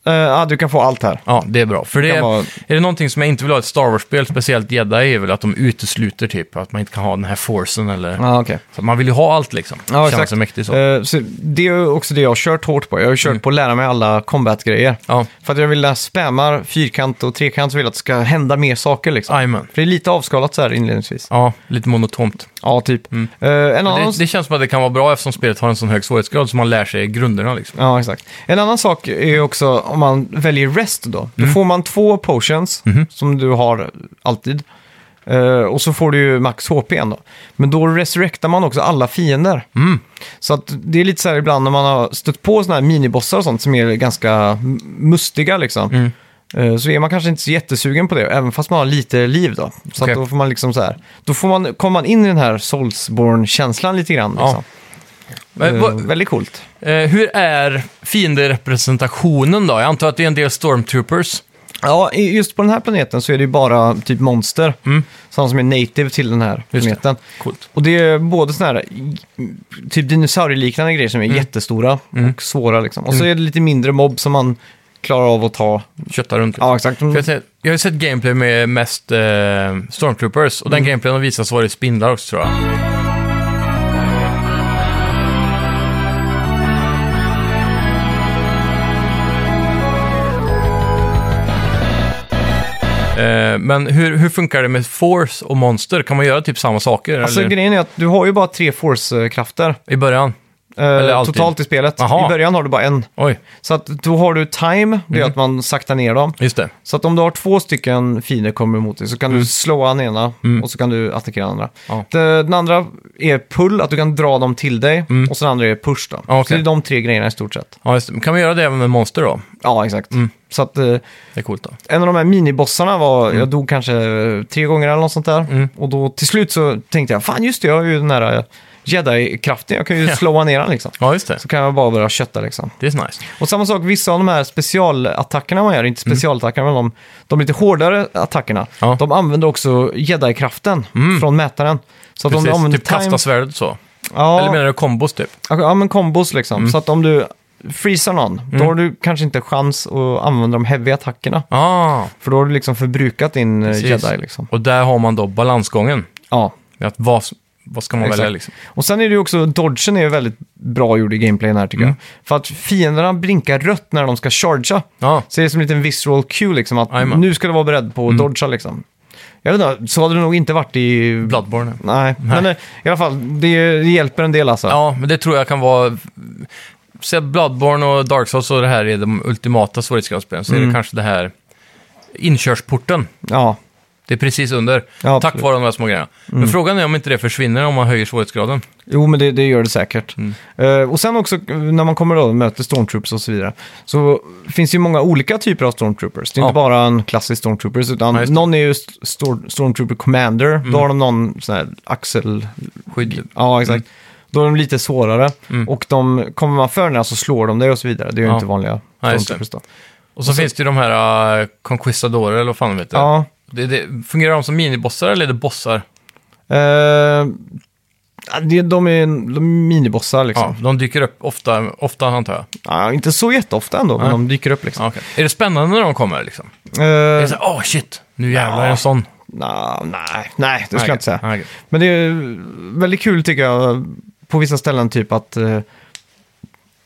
S1: Eh, ja, du kan få allt här.
S2: Ja, det är bra. För det,
S1: kan vara-
S2: är det någonting som jag inte vill ha i ett Star Wars-spel, speciellt Jedi, är väl att de utesluter typ att man inte kan ha den här forcen eller...
S1: Ja, okej.
S2: Så man vill ju ha allt liksom.
S1: Ja,
S2: Känns
S1: exakt.
S2: så mäktig så. Mm.
S1: Eh, så det är ju också det jag har kört hårt på. Jag har ju kört på att lära mig alla combat-grejer.
S2: Ja,
S1: För att jag vill att spammar fyrkant och trekant så vill jag att det ska hända mer saker liksom.
S2: jajamän.
S1: För det är lite avskalat så här inledningsvis.
S2: Ja, lite monotont.
S1: Ja, typ. Eh, en annan...
S2: Det, det känns som att det kan vara bra eftersom spelet har en sån hög svårighetsgrad så man lär sig grunderna liksom.
S1: Ja, exakt. En annan sak är ju också om man väljer rest då. Då
S2: Mm.
S1: får man två potions
S2: Mhm.
S1: som du har alltid. Eh, och så får du ju max HP igen då. Men då resurrectar man också alla fiender.
S2: Mm.
S1: Så att det är lite så här ibland när man har stött på sådana här minibossar och sånt som är ganska m- mustiga liksom.
S2: Mm.
S1: Eh, Så är man kanske inte så jättesugen på det, även fast man har lite liv då. Så
S2: Okej.
S1: att då får man liksom så här, då får man, kommer man in i den här Soulsborne-känslan lite grann.
S2: Ja.
S1: Liksom.
S2: Men,
S1: Eh,
S2: vad-
S1: väldigt coolt.
S2: eh, hur är fienderepresentationen då? Jag antar att det är en del stormtroopers.
S1: Ja, i- just på den här planeten så är det ju bara typ monster. Sådana som är native till den här
S2: Mm. Just det.
S1: planeten.
S2: Coolt.
S1: Och det är både sådana här typ dinosaurieliknande grejer som
S2: Mm.
S1: är jättestora och svåra liksom. Och så är det lite mindre mobb som man klarar av att ta.
S2: Köttar runt.
S1: Ja, exakt.
S2: För Jag, har sett- jag har ju sett gameplay med mest eh, stormtroopers och
S1: Mm.
S2: den gameplayen de visade så var det spindlar också tror jag. Eh, Men hur, hur funkar det med force och monster? Kan man göra typ samma saker?
S1: Alltså
S2: eller?
S1: grejen är att du har ju bara tre force-krafter
S2: I början?
S1: eh,
S2: alltid.
S1: totalt i spelet.
S2: Aha.
S1: I början har du bara en.
S2: Oj,
S1: Så att då har du time, det är
S2: Mm.
S1: att man saktar ner dem.
S2: just det.
S1: Så att om du har två stycken fiender kommer emot dig så kan du slå an ena och så kan du attackera den andra.
S2: Ja.
S1: Det- Den andra är pull, att du kan dra dem till dig. Och så den andra är push då.
S2: okej.
S1: Så det är de tre grejerna i stort sett.
S2: Ja, just det. Men Kan man göra det även med monster då?
S1: Ja, exakt. Så att eh,
S2: Det är coolt då.
S1: en av de här minibossarna var, jag dog kanske eh, tre gånger eller något sånt där. Och då till slut så tänkte jag, fan just det, jag har ju den här eh, jedi-kraften, jag kan ju slå ner den liksom.
S2: Ja, just det.
S1: Så kan jag bara börja kötta liksom.
S2: Det är nice.
S1: Och samma sak, vissa av de här specialattackerna man gör, inte specialattackerna, men de, de lite hårdare attackerna,
S2: Mm. Ja. Mm.
S1: de använder också jedi-kraften från mätaren. Så att om du
S2: Precis,
S1: använder
S2: typ
S1: time...
S2: kasta svärdet och så. Eller Mm.
S1: ja,
S2: menar du kombos typ?
S1: ja, men kombos liksom. Så att om du freezar någon,
S2: Mm.
S1: då har du kanske inte chans att använda de heavy attackerna.
S2: Ah,
S1: För då har du liksom förbrukat din eh,
S2: precis.
S1: jedi liksom.
S2: Och där har man då balansgången.
S1: Ja.
S2: Med att vad, vad ska man
S1: Exakt.
S2: välja liksom?
S1: Och sen är det ju också, dodgen är ju väldigt bra gjord i gameplayen här
S2: Mm.
S1: tycker jag. För att fienderna blinkar rött när de ska chargea.
S2: Ja,
S1: Så det är som en liten visual cue liksom, att
S2: Jajamän. Mm.
S1: nu ska du vara beredd på att dodga liksom. Jag vet inte, så hade det nog inte varit i...
S2: Bloodborne.
S1: Nej, men eh, i alla fall, det, det hjälper en del alltså.
S2: Ja, men det tror jag kan vara... Se Bloodborne och Dark Souls och det här är de ultimata svårighetsgradsspelen. Så är
S1: Mm.
S2: det kanske det här inkörsporten.
S1: Ja,
S2: Det är precis under.
S1: Ja,
S2: tack
S1: absolut. Mm.
S2: vare de här små grejerna. Men frågan är om inte det försvinner om man höjer svårighetsgraden.
S1: jo men det, det gör det säkert.
S2: Mm.
S1: Eh, och sen också eh, när man kommer då och möter stormtroopers och så vidare, så finns det ju många olika typer av stormtroopers. Det är
S2: Ja.
S1: inte bara en klassisk stormtroopers, utan
S2: Ja, just det. Mm.
S1: någon är ju st- stor, stormtrooper commander, då har de någon sån här axel...
S2: Skydd.
S1: Ja, exakt.
S2: Mm.
S1: Då är de lite svårare och de, kommer man för nära så slår de dig och så vidare. Det är ju
S2: Ja.
S1: inte vanliga
S2: Ja, just det.
S1: stormtroopers då.
S2: Och så, finns det ju de här uh, Conquistadorer eller vad fan de heter.
S1: Alltså- Ja.
S2: Det, det, fungerar de som minibossar eller är det bossar?
S1: Eh, det- de är de är minibossar liksom.
S2: Ja, de dyker upp ofta, ofta antar jag.
S1: Ja, inte så jätteofta ändå, men
S2: Nej.
S1: de dyker upp liksom.
S2: Ja, okej. Är det spännande när de kommer liksom?
S1: Eh,
S2: Det är så här, åh shit, nu jävlar är
S1: Ja.
S2: en sån.
S1: nja, nej, nej, det ska jag inte säga.
S2: Nej, okej.
S1: Men det är väldigt kul tycker jag på vissa ställen typ att eh,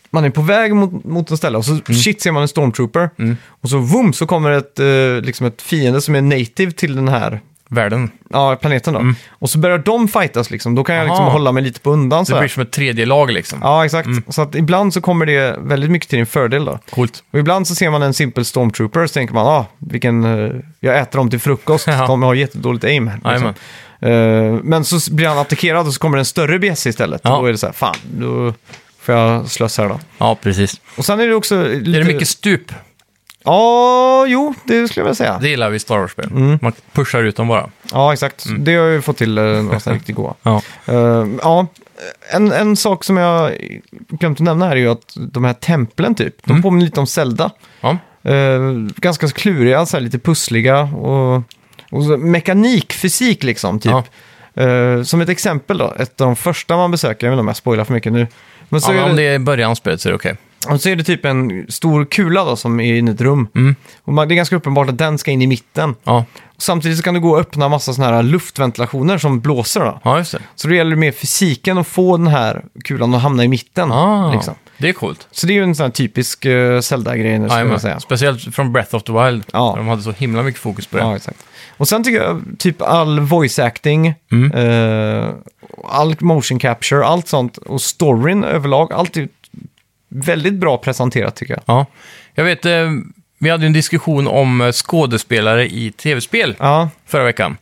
S1: man är på väg mot, mot en ställe och så
S2: Mm.
S1: shit ser man en stormtrooper och så vum så kommer ett, eh, liksom ett fiende som är native till den här
S2: Världen.
S1: ja, planeten då. Och så börjar de fightas liksom, då kan jag liksom
S2: Mm. Aha.
S1: hålla mig lite på undan så
S2: Det
S1: här.
S2: blir som ett tredje lag liksom.
S1: Ja, exakt. Så att ibland så kommer det väldigt mycket till din fördel då.
S2: Coolt.
S1: Och ibland så ser man en simpel stormtrooper så tänker man, ah, vilken, eh, jag äter dem till frukost,
S2: Ja.
S1: de har jättedåligt aim. här, Liksom.
S2: Jajamän.
S1: Eh, men så s- blir han attackerad och så kommer det en större bjässe istället.
S2: Ja.
S1: Och då är det så här, fan, då får jag slösa här då.
S2: Ja, precis.
S1: Och sen är det också lite...
S2: Är det mycket stup?
S1: Ja, jo, det skulle jag vilja säga.
S2: Det gillar vi i Star Wars-spel.
S1: Mm.
S2: Man pushar ut dem bara.
S1: Ja, exakt. Det har jag ju fått till eh, några sådana riktigt goa.
S2: Mm. Ja.
S1: Eh, ja, en, en sak
S2: Mm.
S1: som jag glömt att nämna här är ju att de här templen typ, de påminner lite om Zelda.
S2: ja.
S1: Eh, eh, ganska kluriga, så här, lite pussliga och, och så, mekanik, fysik liksom. Typ.
S2: Ja.
S1: Eh, som ett exempel då, ett av de första man besöker, jag vet inte om jag spoilar för mycket nu. Men så,
S2: Ja, men
S1: är
S2: om
S1: det,
S2: det är i början av spelet så är det okej.
S1: så är det typ en stor kula då, som är inne i ett rum.
S2: Mm.
S1: Och man, det är ganska uppenbart att den ska in i mitten.
S2: Ja.
S1: Samtidigt så kan du gå och öppna massa såna här luftventilationer som blåser. Då.
S2: ja, just det.
S1: Så det gäller mer fysiken att få den här kulan att hamna i mitten.
S2: Ah,
S1: Liksom.
S2: Det är coolt.
S1: Så det är ju en sån här typisk eh, Zelda-grej nu, skulle
S2: Jajamän.
S1: jag säga.
S2: Speciellt från Breath of the Wild.
S1: Ja.
S2: där De hade så himla mycket fokus på det.
S1: Ja, exakt. Och sen tycker jag typ all voice acting,
S2: Mm.
S1: eh, all motion capture, allt sånt och storyn överlag, allt är väldigt bra presenterat tycker jag.
S2: Ja. Jag vet, eh, vi hade ju en diskussion om eh, skådespelare i tv-spel
S1: Ja,
S2: förra veckan.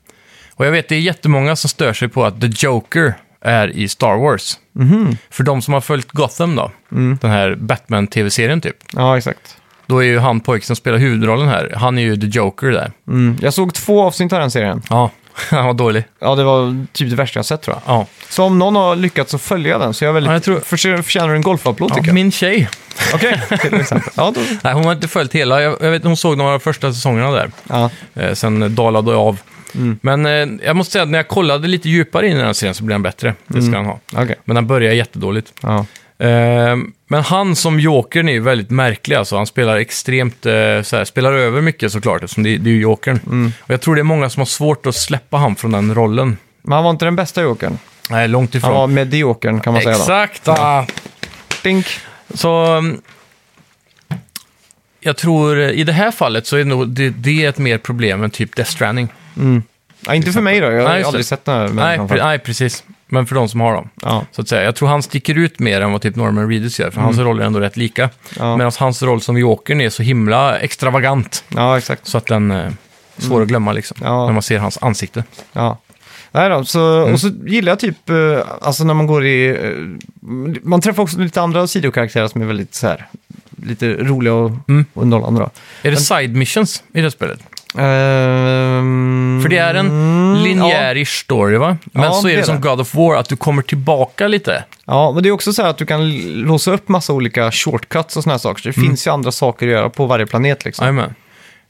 S2: Och jag vet, det är jättemånga som stör sig på att The Joker är i Star Wars.
S1: Mhm.
S2: För de som har följt Gotham då,
S1: Mm.
S2: den här Batman-tv-serien typ,
S1: ja exakt.
S2: då är ju han pojken som spelar huvudrollen här, han är ju The Joker där.
S1: Mm. Jag såg två avsnitt av den serien.
S2: Ja, han var dålig.
S1: Ja, det var typ det värsta jag sett tror jag.
S2: Ja.
S1: Så om någon har lyckats att följa den så är jag väldigt...
S2: Ja, jag tror-
S1: För, förtjänar du en golfapplåd tycker jag.
S2: Min tjej,
S1: Okej, till exempel. Ja, då...
S2: nej, hon har inte följt hela, jag, jag vet hon såg några av de första säsongerna där.
S1: ja.
S2: Eh, sen dalade jag av.
S1: Mm.
S2: Men eh, jag måste säga att när jag kollade lite djupare in i den här serien så blev den bättre. Det
S1: Mm.
S2: ska han ha.
S1: okej.
S2: Men den börjar jättedåligt.
S1: Ja.
S2: Eh, men han som Jokern är ju väldigt märklig alltså. Han spelar extremt, eh, så här, spelar över mycket såklart eftersom det, det är ju Jokern.
S1: Mm.
S2: Och jag tror det är många som har svårt att släppa han från den rollen.
S1: Men han var inte den bästa jokern.
S2: Nej, långt ifrån.
S1: Han var mediokern kan man säga då.
S2: Exakt! Ah.
S1: Dink.
S2: Så mm, jag tror eh, i det här fallet så är nog det, det är ett mer problem än typ Death Stranding.
S1: Ja, inte för mig då, jag har
S2: Nej, just
S1: aldrig
S2: det.
S1: sett den här. människan
S2: Nej, pre-
S1: förut.
S2: nej, precis. Men för de som har dem.
S1: Ja.
S2: Så att säga. Jag tror han sticker ut mer än vad typ Norman Reedus gör, för hans roll är ändå rätt lika.
S1: Mm. Ja.
S2: Medan hans roll som Jokern är så himla extravagant,
S1: ja, exakt.
S2: så att den är svår att glömma liksom,
S1: Mm. Ja.
S2: när man ser hans ansikte.
S1: Ja. Nej då, så,
S2: Mm.
S1: Och så gillar jag typ, eh, alltså när man går i... eh, Man träffar också lite andra sidokaraktärer som är väldigt så här, lite roliga och
S2: Mm.
S1: och underhållande då.
S2: Är det side missions i det spelet?
S1: Ehm,
S2: För det är en linjär story, va? Men
S1: Ja,
S2: så är
S1: det
S2: det,
S1: är
S2: som
S1: det.
S2: God of War, att du kommer tillbaka lite.
S1: Ja, men det är också så här att du kan l- låsa upp massa olika shortcuts och såna här saker. Så det
S2: Mm.
S1: finns ju andra saker att göra på varje planet liksom.
S2: Jajamän.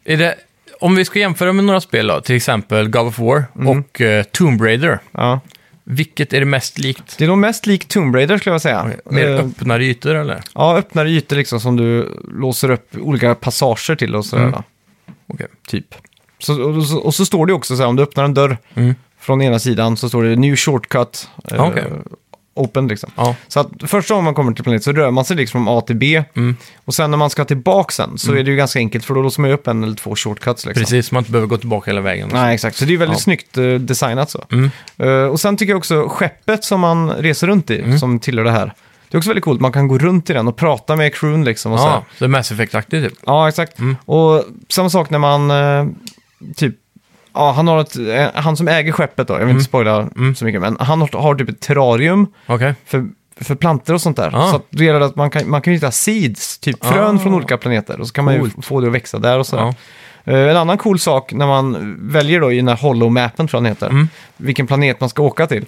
S2: Är det, om vi ska jämföra med några spel då, till exempel God of War
S1: Mm.
S2: och eh, Tomb Raider,
S1: Ja.
S2: vilket är det mest likt?
S1: Det är nog mest likt Tomb Raider skulle jag säga.
S2: Mer
S1: Eh,
S2: öppnare ytor eller?
S1: Ja, öppnare ytor liksom som du låser upp olika passager till och sådär.
S2: Mm.
S1: va?
S2: Okej.
S1: Typ. Så, och, så, och så står det också så här, om du öppnar en dörr
S2: Mm.
S1: från ena sidan så står det new shortcut eh,
S2: Okej.
S1: open liksom.
S2: Ja.
S1: Så att första gången man kommer till planet så rör man sig liksom från A till B.
S2: Mm.
S1: Och sen när man ska tillbaka sen så är det ju ganska enkelt för då låser man ju upp en eller två shortcuts liksom.
S2: Precis, man inte behöver gå tillbaka hela vägen.
S1: Nej, exakt. Så det är ju väldigt
S2: Liksom. Ja.
S1: snyggt eh, designat så.
S2: Mm.
S1: Eh, och sen tycker jag också skeppet som man reser runt i,
S2: Mm.
S1: som tillhör det här. Det är också väldigt coolt, man kan gå runt i den och prata med crewn liksom. Och så här.
S2: Ja, så det är Mass Effect-aktigt typ.
S1: Ja, exakt. Och samma sak när man eh, typ... Ja, han, har ett, eh, han som äger skeppet då, jag vill
S2: Mm.
S1: inte spoila så mycket, men han har, har typ ett terrarium
S2: Okej.
S1: för, för planter och sånt där.
S2: Ah.
S1: Så att det gäller att man kan, man kan ju hitta seeds, typ frön
S2: Ah.
S1: från olika planeter. Och så kan man ju
S2: Coolt.
S1: få det att växa där och sådär. Eh, En annan cool sak när man väljer då i den här hollow-mappen, tror jag den heter,
S2: Mm.
S1: vilken planet man ska åka till,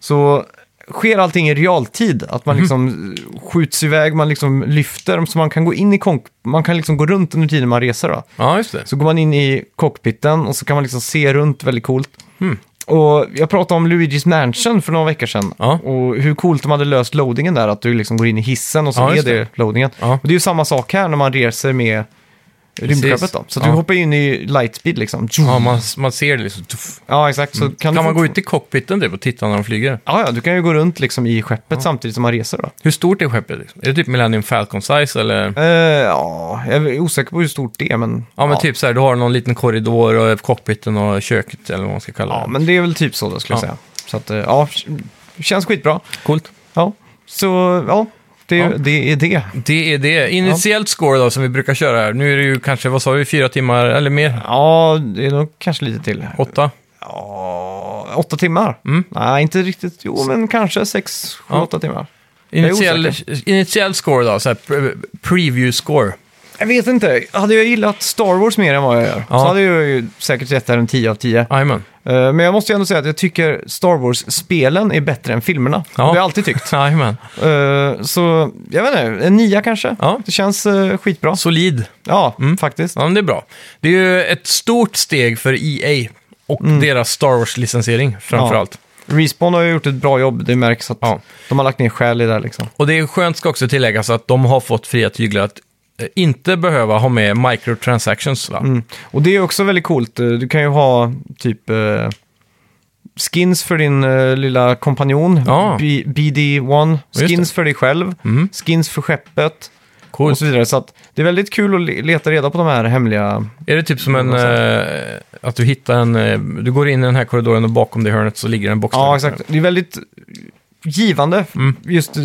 S1: så sker allting i realtid. Att
S2: Mhm.
S1: man liksom skjuts iväg, man liksom lyfter, så man kan gå in i konk- man kan liksom gå runt under tiden man reser. Då.
S2: Ja, just det.
S1: Så går man in i cockpiten och så kan man liksom se runt väldigt coolt.
S2: Hmm.
S1: Och jag pratade om Luigi's Mansion för några veckor sedan.
S2: Ja.
S1: Och hur coolt de hade löst loadingen där, att du liksom går in i hissen och så
S2: Ja,
S1: är
S2: just
S1: det,
S2: det.
S1: loadingen.
S2: Ja.
S1: Och det är ju samma sak här när man reser med rymdskeppet då. Så att
S2: Ja.
S1: du hoppar in i lightspeed liksom.
S2: Ja, man, man ser det liksom. Tuff.
S1: Ja, exakt. Så kan,
S2: Kan
S1: du
S2: man
S1: fort-
S2: gå ut i cockpiten typ och titta när de flyger?
S1: Ja, ja, du kan ju gå runt liksom i skeppet samtidigt som man reser då.
S2: Hur stort är skeppet? Liksom? Är det typ Millennium Falcon size eller?
S1: Eh, ja, jag är osäker på hur stort det är, men...
S2: Ja, men typ så här, du har någon liten korridor och cockpiten och köket eller vad man ska kalla det.
S1: Ja, men det är väl typ så då, skulle jag
S2: Ja.
S1: säga. Så att, eh, ja, känns skitbra.
S2: Coolt.
S1: Ja, så ja, det,
S2: Ja.
S1: det är det.
S2: Det är det. Initiellt score då som vi brukar köra här. Nu är det ju kanske, vad sa vi, fyra timmar eller mer?
S1: Ja, det är nog kanske lite till.
S2: Åtta?
S1: Ja, åtta timmar? Nej, inte riktigt. Jo, men kanske sex, sju,
S2: Mm. Ja.
S1: åtta timmar. är
S2: Initiell, initiell score då, så här pre- preview score.
S1: Jag vet inte. Hade jag gillat Star Wars mer än vad jag gör så
S2: Ja.
S1: hade jag ju säkert gett det här en 10 av 10.
S2: Jajamän.
S1: Eh, Men jag måste ju ändå säga att jag tycker Star Wars-spelen är bättre än filmerna. Det har jag alltid tyckt.
S2: Jajamän.
S1: Eh, Så jag vet inte, en nia kanske?
S2: Ja. Mm.
S1: Det känns eh, skitbra.
S2: Solid.
S1: Ja, faktiskt.
S2: Ja, men det är bra. Det är ju ett stort steg för EA och
S1: Mm.
S2: deras Star Wars-licensiering framför
S1: Ja.
S2: allt.
S1: Respawn har ju gjort ett bra jobb, det märks att
S2: Ja.
S1: de har lagt ner själ i det här liksom.
S2: Och det är skönt ska också tilläggas att de har fått fria tyglar att eh, inte behöva ha med microtransactions. Va?
S1: Mm. Och det är också väldigt coolt, eh, du kan ju ha typ eh, skins för din eh, lilla kompanjon,
S2: Ja.
S1: B- BD1,
S2: just Mm.
S1: skins för dig själv, skins för skeppet och
S2: Coolt.
S1: så vidare. Så att det är väldigt kul att le- leta reda på de här hemliga...
S2: Är det typ som en...
S1: Mm.
S2: eh, att du hittar en... eh, du går in i den här korridoren och bakom det hörnet så ligger en box.
S1: Ja,
S2: där.
S1: exakt. Det är väldigt givande,
S2: Mm.
S1: just eh,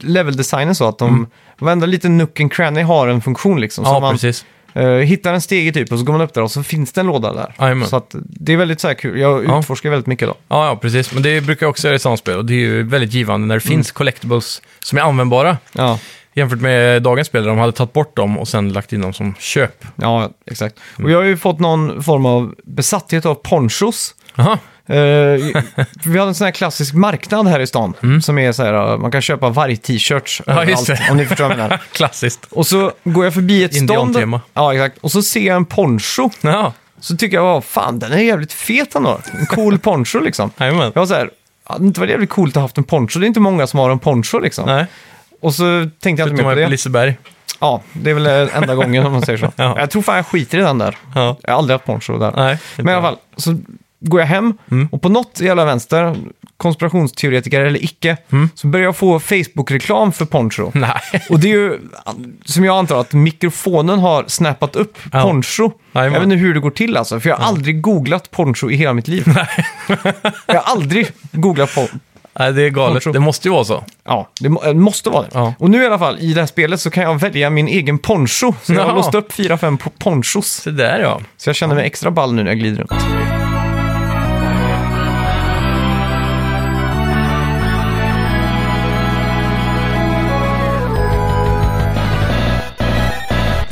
S1: leveldesignen så att de, varenda liten nook and cranny har en funktion liksom. så
S2: Ja,
S1: man,
S2: precis.
S1: Eh, hittar en stege typ och så går man upp där och så finns det en låda där.
S2: Jajamän.
S1: Så att det är väldigt så här kul. Jag
S2: Ja.
S1: utforskar väldigt mycket då.
S2: Ja, ja, precis. Men det brukar jag också göra i samspel och det är ju väldigt givande när det
S1: Mm.
S2: finns collectibles som är användbara.
S1: Ja,
S2: Jämfört med dagens spel där de hade tagit bort dem och sen lagt in dem som köp.
S1: ja exakt.
S2: Mm.
S1: Och jag har ju fått någon form av besatthet av ponchos.
S2: Aha.
S1: Eh, vi hade en sån här klassisk marknad här i stan som är så här, eh, man kan köpa varg-t-shirts
S2: Mm. Ja, just
S1: överallt,
S2: det.
S1: om ni förstår vad jag menar.
S2: Klassiskt.
S1: Och så går jag förbi ett stånd.
S2: Indiantema.
S1: Ja, exakt. Och så ser jag en poncho.
S2: Ja,
S1: Så tycker jag, "Åh, fan den är jävligt fet ändå. En cool poncho liksom.
S2: jajamän.
S1: Jag var så här, hade inte varit jävligt coolt att ha haft en poncho? Det är inte många som har en poncho liksom.
S2: Nej,
S1: Och så tänkte jag inte
S2: förutom
S1: mer
S2: här
S1: på
S2: på
S1: det.
S2: Liseberg.
S1: Ja, det är väl eh, enda gången om man säger så.
S2: Ja.
S1: Jag tror fan jag skiter i den där.
S2: Ja.
S1: Jag har aldrig haft poncho där.
S2: Nej, Mm. det är
S1: Men i alla
S2: bra.
S1: fall, så går jag hem och på något jävla vänster, konspirationsteoretiker eller icke, så börjar jag få Facebook-reklam för poncho.
S2: Mm. Nej.
S1: Och det är ju, som jag antar, att mikrofonen har snappat upp
S2: Ja.
S1: poncho. Jag
S2: Jajamän.
S1: vet inte hur det går till alltså, för jag har aldrig googlat poncho i hela mitt liv. jag har aldrig googlat poncho.
S2: Nej, det är galet.
S1: Poncho.
S2: Det måste ju vara så.
S1: Ja, det må- eh, måste vara det.
S2: Ja.
S1: Och nu i alla fall, i det här spelet så kan jag välja min egen poncho. Så jag har
S2: Jaha.
S1: låst upp fyra fem po- ponchos.
S2: Så där ja.
S1: Så jag känner mig extra ball nu när jag glider runt.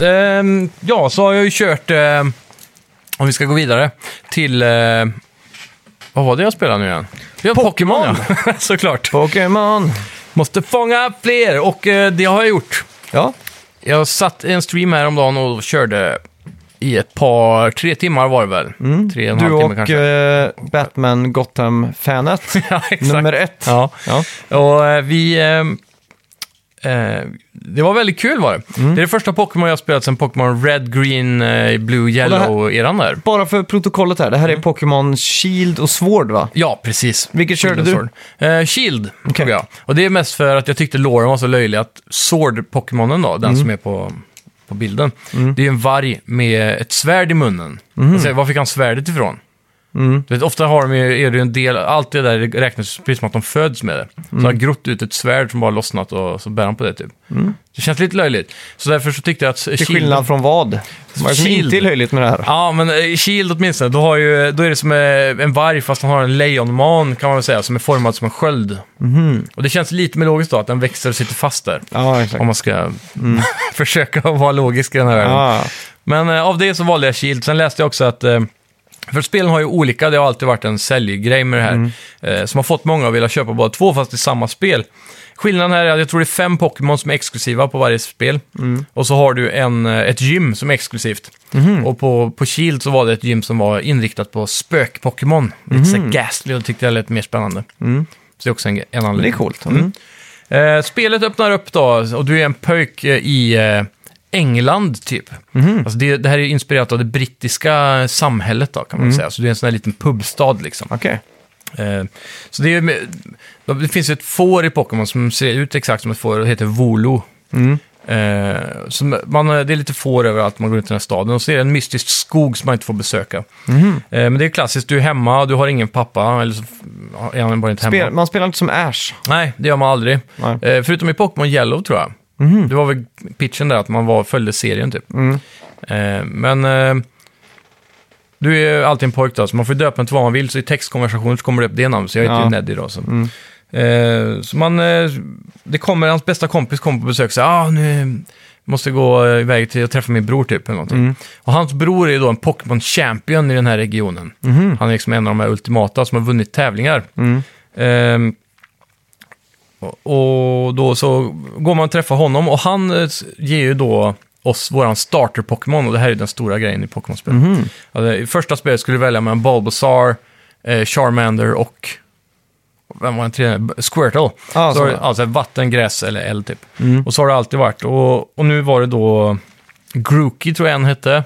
S2: Ehm, ja, så har jag ju kört, ehm, om vi ska gå vidare, till... ehm, vad var det jag spelade nu igen? Det var Pokémon, ja. Såklart.
S1: Pokémon!
S2: Måste fånga fler och eh, det har jag gjort.
S1: Ja,
S2: Jag satt i en stream här om dagen och körde i ett par, tre timmar var det väl? Tre och en
S1: Mm. du
S2: halv timme
S1: och
S2: kanske.
S1: eh, Batman Gotham-fanet.
S2: Ja, exakt.
S1: Nummer ett.
S2: Ja.
S1: Ja.
S2: Och eh, vi... ehm, eh, det var väldigt kul var det.
S1: Mm.
S2: Det är det första Pokémon jag har spelat sedan Pokémon Red, Green, eh, Blue,
S1: det här-
S2: Yellow-eran där.
S1: Bara för protokollet här, det
S2: Mm.
S1: här är Pokémon Shield och Sword va?
S2: Ja, precis.
S1: Vilket körde
S2: Shield och Sword. Eh, Shield
S1: Okej.
S2: tog jag. Och det är mest för att jag tyckte Lauren var så löjlig att Sword-Pokémonen då,
S1: Mm.
S2: den som är på, på bilden, det är ju en varg med ett svärd i munnen.
S1: Mm.
S2: Jag säger, var fick han svärdet ifrån? Du vet, ofta har de ju, är det ju en del, allt det där räknas precis som att de föds med det. Så
S1: Mm.
S2: har han grott ut ett svärd som bara lossnat och så bär han på det typ. Det känns lite löjligt. Så därför så tyckte jag att
S1: Mm. Till
S2: Shield...
S1: skillnad från vad? Vad är det som
S2: Shield.
S1: inte är löjligt med det här?
S2: Ja, men eh, Shield åtminstone, då, har ju, då är det som eh, en varg fast han har en lejonman kan man väl säga, som är formad som en sköld. Och det känns lite mer logiskt då att den växer och sitter fast där.
S1: Ja, exakt.
S2: Om man ska försöka vara logisk i den här världen.
S1: Ja.
S2: Men eh, av det så valde jag Shield. Sen läste jag också att... Eh, för spelen har ju olika, det har alltid varit en säljgrej med det
S1: Mm.
S2: här. Eh, som har fått många att vilja köpa båda två, fast i samma spel. Skillnaden här är att jag tror det är fem Pokémon som är exklusiva på varje spel.
S1: Mm.
S2: Och så har du en, eh, ett gym som är exklusivt.
S1: Mhm.
S2: Och på, på Shield så var det ett gym som var inriktat på spök-Pokémon. Lite så här ghastly och det tyckte jag lät mer spännande. Så det är också en, en anledning.
S1: Mhm. Mm. Det är coolt. Mm.
S2: Eh, spelet öppnar upp då och du är en pöjk eh, i eh, England typ. Alltså det, det här är ju inspirerat av det brittiska samhället då kan man säga. Så du är en sån här liten pubstad liksom.
S1: Okej.
S2: Eh, så det, är, ju med- det finns ju ett får i Pokémon som ser ut exakt som ett får och heter Volo. Eh, så man, det är lite får överallt man går runt i den här staden. Och så är det en mystisk skog som man inte får besöka. Eh, men det är klassiskt, du är hemma, du har ingen pappa, eller så ja, är han bara inte hemma.
S1: Spel- Man spelar inte som Ash.
S2: Nej, det gör man aldrig.
S1: Nej. Mhm.
S2: Eh, förutom i Pokémon Yellow tror jag. Det var väl pitchen där att man var, följde serien typ.
S1: Mm.
S2: Eh, men eh, du är ju alltid en pojk då, så man får ju döpa en till vad man vill. Så i textkonversationer så kommer det upp det namnet, så jag heter
S1: Ja. Mm.
S2: ju Neddy då. Så. Eh, så man, eh, det kommer, hans bästa kompis kommer på besök och säger ah, nu Måste gå eh, iväg till att träffa min bror typ eller någonting.
S1: Mm.
S2: Och hans bror är ju då en Pokémon champion i den här regionen.
S1: Mhm.
S2: Han är liksom en av de här ultimata som har vunnit tävlingar.
S1: Mm.
S2: Ehm, och och då så går man och träffar honom och han eh, s- ger ju då oss våran starter-Pokémon och det här är den stora grejen i Pokémon-spel. Alltså, I första spelet skulle du välja mellan Bulbasaur, eh, Charmander och vem var den tredje? B- Squirtle.
S1: Ja,
S2: så har du,
S1: sådana.
S2: alltså vatten, gräs eller eld typ. Och så har det alltid varit. Och, och nu var det då Grookey tror jag en hette.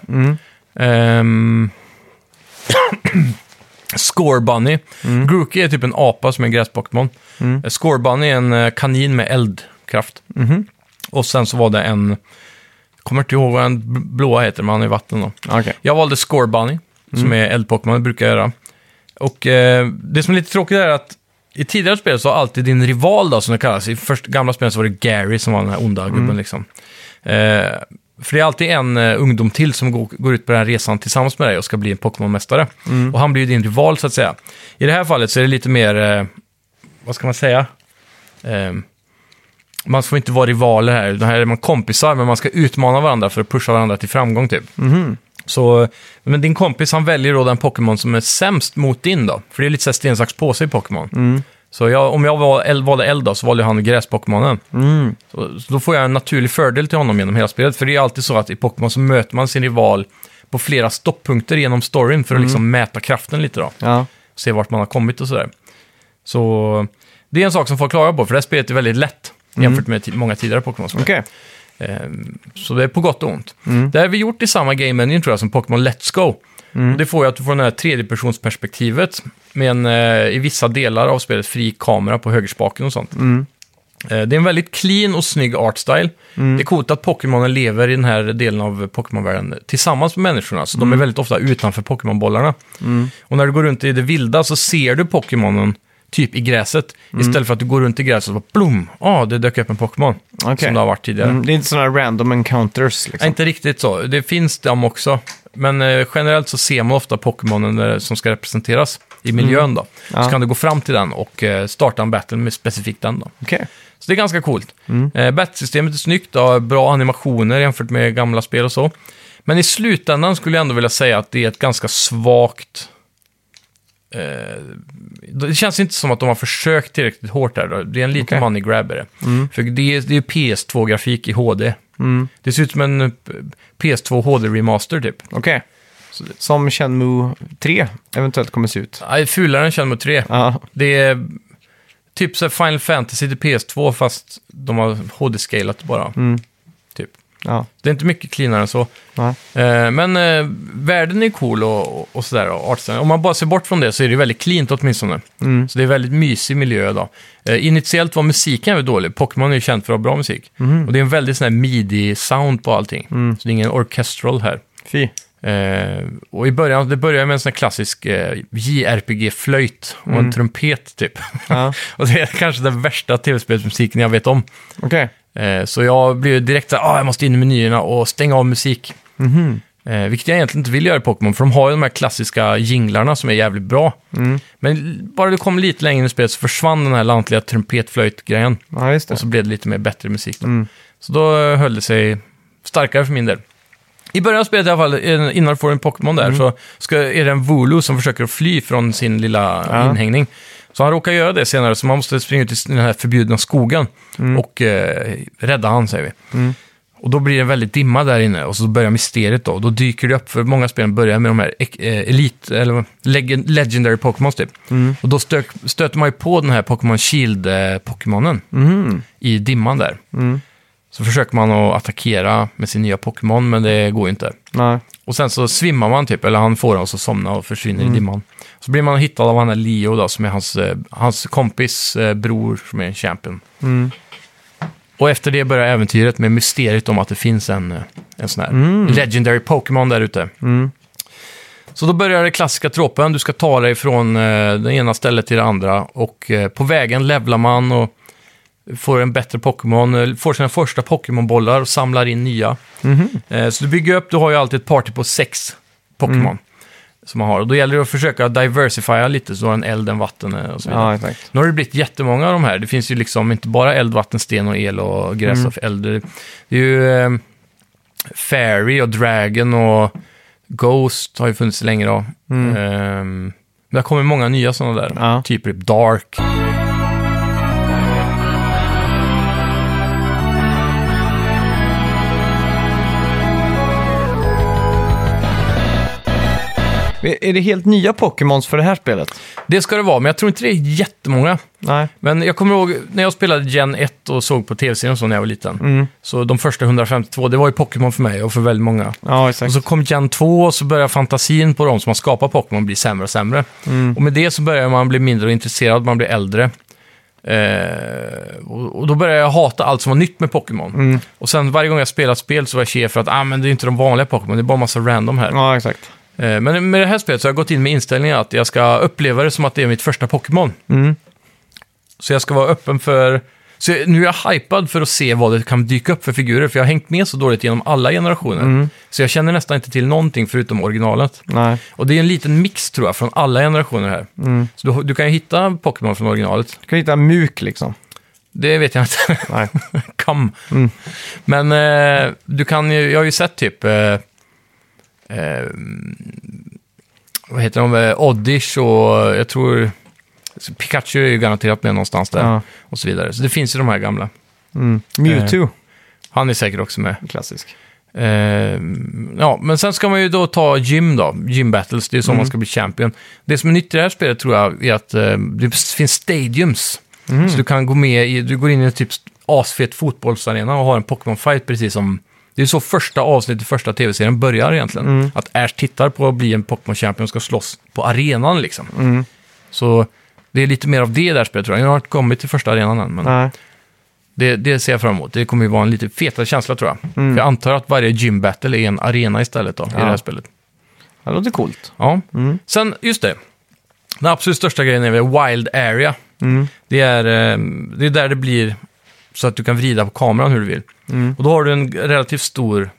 S2: Ehm, Score Bunny. Grookey är typ en apa som är en gräspokémon. Mm. Score Bunny är en eh, kanin med eldkraft. Och sen så var det en, kommer inte ihåg vad den bl- blåa heter, men han är i vatten då.
S1: Okej.
S2: Jag valde Score Bunny, som är eldpokémon, det brukar jag göra. Och eh, det som är lite tråkigt är att i tidigare spel så har alltid din rival då, som det kallas. I först, gamla spelen så var det Gary som var den här onda gubben liksom. Eh, för det är alltid en eh, ungdom till som går, går ut på den här resan tillsammans med dig och ska bli en Pokémon-mästare. Och han blir ju din rival så att säga. I det här fallet så är det lite mer, eh, vad ska man säga? Eh, man får inte vara rivaler här, utan här är man kompisar, men man ska utmana varandra för att pusha varandra till framgång typ. Så, men din kompis han väljer då den Pokémon som är sämst mot din då. För det är lite så här sten, sax, påse i Pokémon. Så jag, om jag var eld, valde eld då, så valde han gräs-Pokémonen. Så, så då får jag en naturlig fördel till honom genom hela spelet. För det är alltid så att i Pokémon så möter man sin rival på flera stopppunkter genom storyn för att liksom mäta kraften lite då.
S1: Ja.
S2: Se vart man har kommit och sådär. Så det är en sak som folk klagar på, för det här spelet är väldigt lätt jämfört med ti- många tidigare Pokémon-spel.
S1: Okej.
S2: Ehm, Så det är på gott och ont. Det här vi gjort i samma game engine tror jag som Pokémon Let's Go. Och det får ju att du får det här tredjepersonsperspektivet med en eh, i vissa delar av spelet fri kamera på högerspaken och sånt. Eh, det är en väldigt clean och snygg art style. Det är coolt att Pokémonen lever i den här delen av Pokémon-världen tillsammans med människorna. Så de är väldigt ofta utanför Pokémon-bollarna. Och när du går runt i det vilda så ser du Pokémonen typ i gräset. Istället för att du går runt i gräset och bara blom, ah, det dök upp en Pokémon.
S1: Okej.
S2: Som det har varit tidigare.
S1: Mm, det är inte sådana random encounters
S2: Nej,
S1: liksom.
S2: inte riktigt så. Det finns dem också. Men eh, generellt så ser man ofta Pokémonen eh, som ska representeras i miljön då.
S1: Ja.
S2: Så kan du gå fram till den och eh, starta en battle med specifikt den då.
S1: Okej.
S2: Så det är ganska coolt. Eh, Battle-systemet är snyggt, har bra animationer jämfört med gamla spel och så. Men i slutändan skulle jag ändå vilja säga att det är ett ganska svagt... Eh, det känns inte som att de har försökt tillräckligt hårt där. Då. Det är en liten
S1: Okej. Mm.
S2: money grab är det. För det är, det är PS2-grafik i HD. Det ser ut som en eh, PS2 HD-remaster typ.
S1: Okej. Som Shenmue 3 eventuellt kommer se ut.
S2: Nej, fulare än Shenmue 3.
S1: Ja,
S2: Det är typ så här Final Fantasy till PS2 fast de har HD-scalat bara.
S1: Mm.
S2: Typ.
S1: ja.
S2: Det är inte mycket cleanare än så.
S1: Nej.
S2: Eh, men eh, världen är cool och, och, och sådär. Och artstylen. Om man bara ser bort från det så är det väldigt cleant åtminstone. Så det är väldigt mysig miljö idag. Eh, initiellt var musiken väldigt dålig. Pokémon är ju känt för att ha bra musik. Och det är en väldigt sån här midi-sound på allting. Så det är ingen orchestral här.
S1: Fy.
S2: Eh, och i början, det börjar med en sån här klassisk eh, JRPG-flöjt och en trumpet typ.
S1: Ja.
S2: och det är kanske den värsta tv-spelsmusiken jag vet om.
S1: Okej.
S2: Eh, Så jag blev ju direkt såhär, ah, jag måste in i menyerna och stänga av musik. Eh, vilket jag egentligen inte vill göra i Pokémon, för de har ju de här klassiska jinglarna som är jävligt bra. Men l- bara du kom lite längre in i spelet så försvann den här lantliga trumpetflöjt-grejen.
S1: Ja, just det. Mm.
S2: Och så blev det lite mer bättre musik då. Så då eh, höll det sig starkare för min del. I början av spelet i alla fall, eh, innan du får en Pokémon där,
S1: Mm.
S2: så ska, är det en Volo som försöker att fly från sin lilla
S1: Ja.
S2: inhägning. Så han råkar göra det senare, så man måste springa ut i den här förbjudna skogen
S1: Mm.
S2: och eh, rädda han, säger vi. Och då blir det väldigt dimma där inne och så börjar mysteriet då. Och då dyker det upp, för många spel börjar med de här ek- eh, Elite, eller vad, Leg- Legendary Pokémons typ.
S1: Mm.
S2: Och då stök, stöter man ju på den här Pokémon eh, Shield-Pokémonen
S1: Mm.
S2: i dimman där. Så försöker man att attackera med sin nya Pokémon, men det går ju inte.
S1: Nej.
S2: Och sen så svimmar man typ, eller han får oss att somna och försvinner i dimman. Så blir man hittad av han här Leo då, som är hans, eh, hans kompis eh, bror som är en champion. Och efter det börjar äventyret med mysteriet om att det finns en, eh, en sån här legendary Pokémon där ute. Så då börjar det klassiska tropen, du ska ta dig från eh, det ena stället till det andra och eh, på vägen levlar man och får en bättre Pokémon, eh, får sina första Pokémon-bollar och samlar in nya. Eh, Så du bygger upp, du har ju alltid ett party på sex Pokémon. Som man har. Och då gäller det att försöka diversifiera lite, så du har en eld, en vatten eh, och så vidare.
S1: Ja, exakt.
S2: Nu har det blivit jättemånga av de här. Det finns ju liksom inte bara eld, vatten, sten och el och gräs och eld. Det är ju eh, Fairy och Dragon och Ghost har ju funnits länge då. Ehm, men det har kommit många nya sådana där.
S1: Ja.
S2: Typ Dark.
S1: Är är det helt nya Pokémons för det här spelet?
S2: Det ska det vara, men jag tror inte det är jättemånga.
S1: Nej.
S2: Men jag kommer ihåg när jag spelade Gen 1 och såg på tv-serien och så när jag var liten.
S1: Mm.
S2: Så de första 152, det var ju Pokémon för mig och för väldigt många.
S1: Ja,
S2: Och
S1: exakt.
S2: så kom Gen 2 och så började fantasin på de som har skapat Pokémon bli sämre och sämre. Och med det så börjar man bli mindre intresserad, man blir äldre. Eh, och, och då började jag hata allt som var nytt med Pokémon. Och sen varje gång jag spelat spel så var jag chef för att ah, men det är inte de vanliga Pokémon, det är bara massa random här.
S1: Ja, exakt.
S2: Eh, Men med det här spelet så har jag gått in med inställningen att jag ska uppleva det som att det är mitt första Pokémon.
S1: Mm.
S2: Så jag ska vara öppen för... Så jag- nu är jag hypad för att se vad det kan dyka upp för figurer, för jag har hängt med så dåligt genom alla generationer. Så jag känner nästan inte till någonting förutom originalet.
S1: Nej.
S2: Och det är en liten mix tror jag, från alla generationer här. Så du, du kan ju hitta Pokémon från originalet.
S1: Du kan hitta muk liksom.
S2: Det vet jag inte.
S1: Nej.
S2: Come. Men eh, du kan ju, jag har ju sett typ... Eh, eh, vad heter de? Eh, Oddish och jag tror... Pikachu är ju garanterat med någonstans där.
S1: Ja.
S2: Och så vidare. Så det finns ju de här gamla.
S1: Mm.
S2: Eh.
S1: Mewtwo,
S2: Han är säkert också med.
S1: klassisk.
S2: Eh, ja, men sen ska man ju då ta gym då. Gym battles, det är så man ska bli champion. Det som är nytt i det här spelet tror jag är att eh, det finns stadiums. Så du kan gå med i, du går in i en typ asfet fotbollsarena och har en Pokémon-fight precis som... Det är så första avsnittet i första tv-serien börjar egentligen. Att Ash tittar på att bli en Pokémon-champion och ska slåss på arenan liksom. Så det är lite mer av det i det här spelet tror jag. Jag har inte kommit till första arenan än. Men...
S1: Nej.
S2: Det, det ser jag fram emot. Det kommer ju vara en lite fetare känsla tror jag. För jag antar att varje gym battle är en arena istället då, i det här spelet.
S1: Det låter coolt.
S2: Ja. Sen, just det. Den absolut största grejen är väl Wild Area. Det, är, eh, det är där det blir så att du kan vrida på kameran hur du vill. Och då har du en relativt stor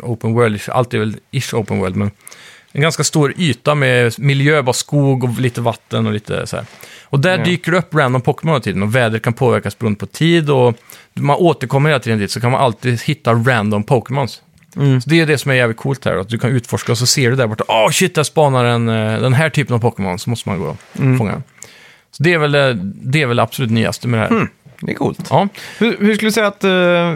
S2: open world, allt är väl ish open world, men en ganska stor yta med miljö, bara skog och lite vatten och lite så här. Och där dyker det upp random Pokémon hela tiden och vädret kan påverkas beroende på tid och man återkommer hela tiden dit så kan man alltid hitta random Pokémons. Så det är det som är jävligt coolt här, att du kan utforska och så ser du där borta, åh shit, där spanar en, eh, den här typen av Pokémon, så måste man gå och fånga den. Så det är väl eh, det är väl det absolut nyaste med det här.
S1: Det är coolt.
S2: Ja.
S1: Hur, hur skulle du säga att... eh,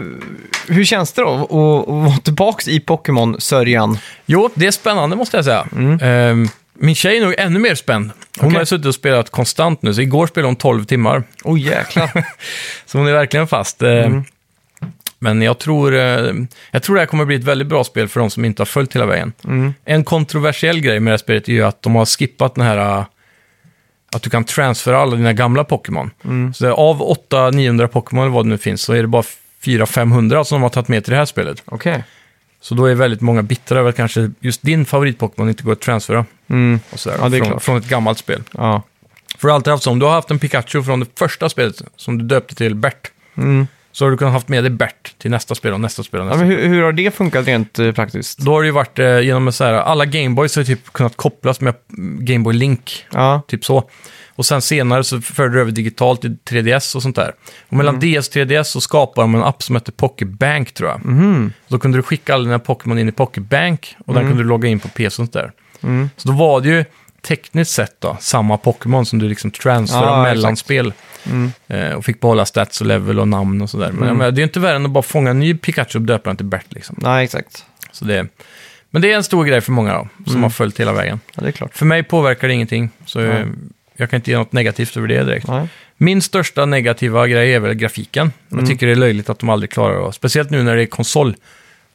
S1: hur känns det då att, att vara tillbaka i Pokémon-sörjan?
S2: Jo, det är spännande måste jag säga. Ehm, min tjej är nog ännu mer spänd. Hon
S1: Okej.
S2: har ju suttit och spelat konstant nu, så igår spelade hon 12 timmar.
S1: Åh oh, jäklar.
S2: Så hon är verkligen fast. Ehm,
S1: Mm.
S2: Men jag tror, eh, jag tror det här kommer bli ett väldigt bra spel för de som inte har följt hela vägen.
S1: Mm.
S2: En kontroversiell grej med det här spelet är ju att de har skippat den här eh, att du kan transfera alla dina gamla Pokémon.
S1: Mm.
S2: Så av 800-900 Pokémon, eller vad det nu finns, så är det bara 400-500 som de har tagit med till det här spelet.
S1: Okej.
S2: Så då är väldigt många bittra över att kanske just din favorit-Pokémon inte går att transfera. Och sådär,
S1: Mm. Ja, det är
S2: från,
S1: klart.
S2: från ett gammalt spel.
S1: Ja.
S2: För du har alltid haft så, om du har haft en Pikachu från det första spelet som du döpte till Bert, så har du kunnat haft med dig Bert till nästa spel och nästa spel och
S1: Mm. ja
S2: nästa.
S1: men hur, hur har det funkat rent eh, praktiskt?
S2: Då har det ju varit eh, genom en så här, alla Gameboys har ju typ kunnat kopplas med Gameboy Link,
S1: Ja.
S2: typ så. Och sen senare så förde du över digitalt till 3DS och sånt där. Och
S1: Mm.
S2: mellan DS och 3DS så skapade de en app som hette Pokébank tror jag.
S1: Mhm.
S2: Då kunde du skicka alla dina Pokémon in i Pokébank och
S1: Mm.
S2: den kunde du logga in på PC och sånt där. Så då var det ju tekniskt sett då, samma Pokémon som du liksom transferade
S1: Ja,
S2: mellan
S1: exakt. Mm.
S2: spel. Eh, och fick behålla stats och level och namn och sådär. Men jag menar, det är ju inte värre än att bara fånga en ny Pikachu och döpa den till Bert liksom.
S1: Nej, exakt.
S2: Så det, men det är en stor grej för många då, som
S1: Mm.
S2: har följt hela vägen.
S1: Ja, det är klart.
S2: För mig påverkar det ingenting, så eh,
S1: Nej.
S2: jag kan inte ge något negativt över det direkt.
S1: Nej. Mm.
S2: Min största negativa grej är väl grafiken. Jag tycker det är löjligt att de aldrig klarar det. Speciellt nu när det är konsol.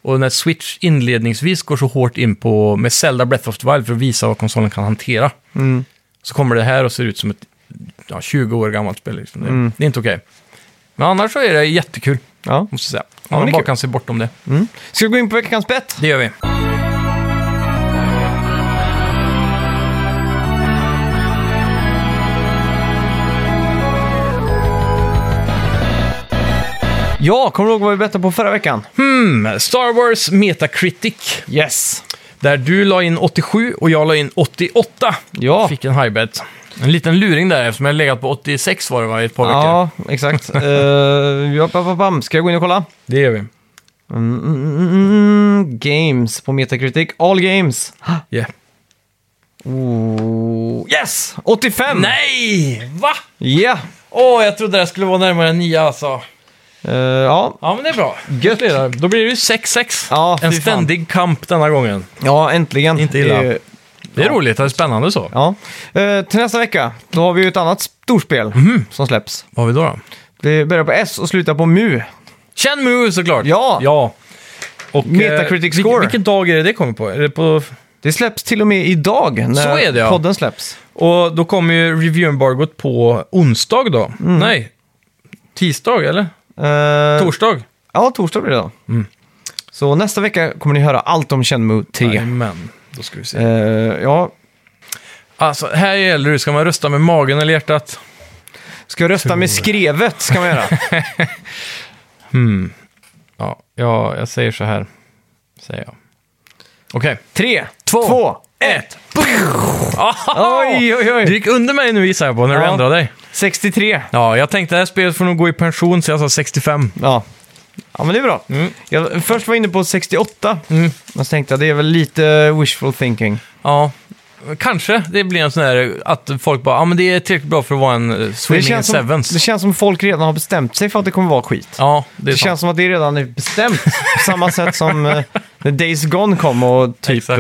S2: Och när Switch inledningsvis går så hårt in på med Zelda Breath of the Wild för att visa vad konsolen kan hantera.
S1: Mm.
S2: Så kommer det här och ser ut som ett ja, 20 år gammalt spel. Liksom. Det,
S1: Mm.
S2: det är inte okej. Men annars så är det jättekul,
S1: Ja.
S2: måste jag säga.
S1: Ja,
S2: Man
S1: det är
S2: bara
S1: kul. Mm.
S2: kan se bortom det.
S1: Ska vi gå in på veckans bett?
S2: Det gör vi.
S1: Ja, kommer du ihåg vad vi bettade på förra veckan?
S2: Hmm, Star Wars Metacritic.
S1: Yes.
S2: Där du la in 87 och jag la in 88.
S1: Ja.
S2: Fick en high bet. En liten luring där eftersom jag legat på 86 var det va, i ett par veckor.
S1: Eh, Ja, exakt. uh, bam, bam, bam. Ska jag gå in och kolla?
S2: Det gör vi.
S1: Mm, mm, mm, mm, games på Metacritic. All games.
S2: Yeah.
S1: Oh, yes! 85!
S2: Nej! Va?
S1: Ja!
S2: Åh, jag trodde det här skulle vara närmare 9 alltså.
S1: Eh, ja,
S2: Ja, men det är bra.
S1: gött.
S2: Då blir det ju 6-6.
S1: Ja,
S2: en
S1: fy fan.
S2: ständig kamp denna gången.
S1: Ja, äntligen.
S2: Inte illa.
S1: Det är-
S2: Det är roligt, det är spännande så.
S1: Ja. Eh, till nästa vecka, då har vi ju ett annat storspel som släpps.
S2: Vad har vi då? då?
S1: Det börjar på S och slutar på MU.
S2: Chen Mu såklart!
S1: Ja.
S2: ja. Och, eh,
S1: Metacritic
S2: vilken-
S1: score.
S2: Vilken dag är det det kommer på? Är det på
S1: Det släpps till och med idag när
S2: Så är det, ja.
S1: podden släpps.
S2: och då kommer ju review-embargot på onsdag då. Nej, tisdag eller?
S1: Eh,
S2: Torsdag?
S1: ja, torsdag blir det då.
S2: Mm.
S1: Så nästa vecka kommer ni höra allt om Shenmue 3.
S2: Jajamän, då ska vi se.
S1: Eh, ja,
S2: Alltså, här gäller det, ska man rösta med magen eller hjärtat?
S1: ska jag rösta med skrevet ska man göra.
S2: Ja, ja jag säger så här. Säger jag. Okej.
S1: Tre, två, ett. Oj, oj,
S2: Du
S1: oj.
S2: gick under mig nu gissar jag på när du
S1: Ja.
S2: ändrade dig.
S1: 63.
S2: Ja, jag tänkte det här spelet får nog gå i pension så jag sa 65.
S1: Ja. Ja, men det är bra.
S2: Mm.
S1: Jag först var inne på 68, men så tänkte jag det är väl lite wishful thinking.
S2: Ja, kanske det blir en sån här att folk bara, ja ah, men det är tillräckligt bra för att vara en eh,
S1: Det
S2: Swimming in
S1: känns, som,
S2: Sevens.
S1: det känns som folk redan har bestämt sig för att det kommer vara skit.
S2: Ja, det är
S1: Det
S2: sant.
S1: känns som att det redan är bestämt. På samma sätt som eh, när Days Gone kom och typ eh,
S2: Exakt.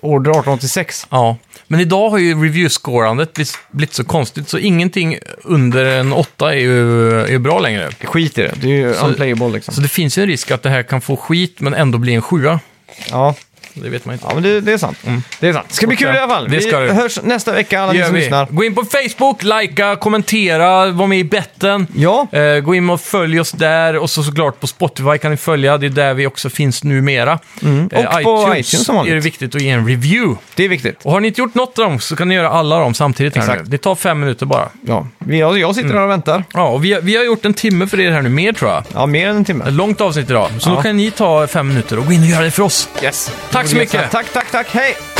S1: Order 1886.
S2: Ja, men idag har ju review-scorandet blivit- blivit så konstigt så ingenting under en åtta är ju är ju bra längre.
S1: Skit i det. Det är ju unplayable liksom.
S2: Så det finns ju en risk att det här kan få skit men ändå bli en sjua.
S1: Ja,
S2: Det vet man inte.
S1: ja men det, det är sant. Det är sant. ska bli
S2: Mm. Okej.
S1: kul i alla fall.
S2: Det ska
S1: vi
S2: det.
S1: hörs nästa vecka, alla
S2: Det
S1: ni
S2: gör
S1: som
S2: vi.
S1: lyssnar.
S2: Gå in på Facebook, likea, kommentera, var med i betten.
S1: Ja,
S2: Eh, gå in och följ oss där och så såklart på Spotify kan ni följa. Det är där vi också finns numera.
S1: Mm.
S2: Eh,
S1: Och på iTunes som vanligt.
S2: är det viktigt att ge en review.
S1: det är viktigt.
S2: Och har ni inte gjort något av dem så kan ni göra alla dem samtidigt här
S1: Exakt.
S2: nu. Det tar fem minuter bara.
S1: Ja, vi- jag, jag sitter här
S2: Mm.
S1: och väntar.
S2: Ja, och vi, har- vi har gjort en timme för er här nu mer tror jag.
S1: Ja, mer än en timme.
S2: Ett långt avsnitt idag. Så
S1: Ja.
S2: då kan ni ta fem minuter och gå in och göra det för oss.
S1: Yes.
S2: Tack så mycket.
S1: Tack, tack, tack. Hej!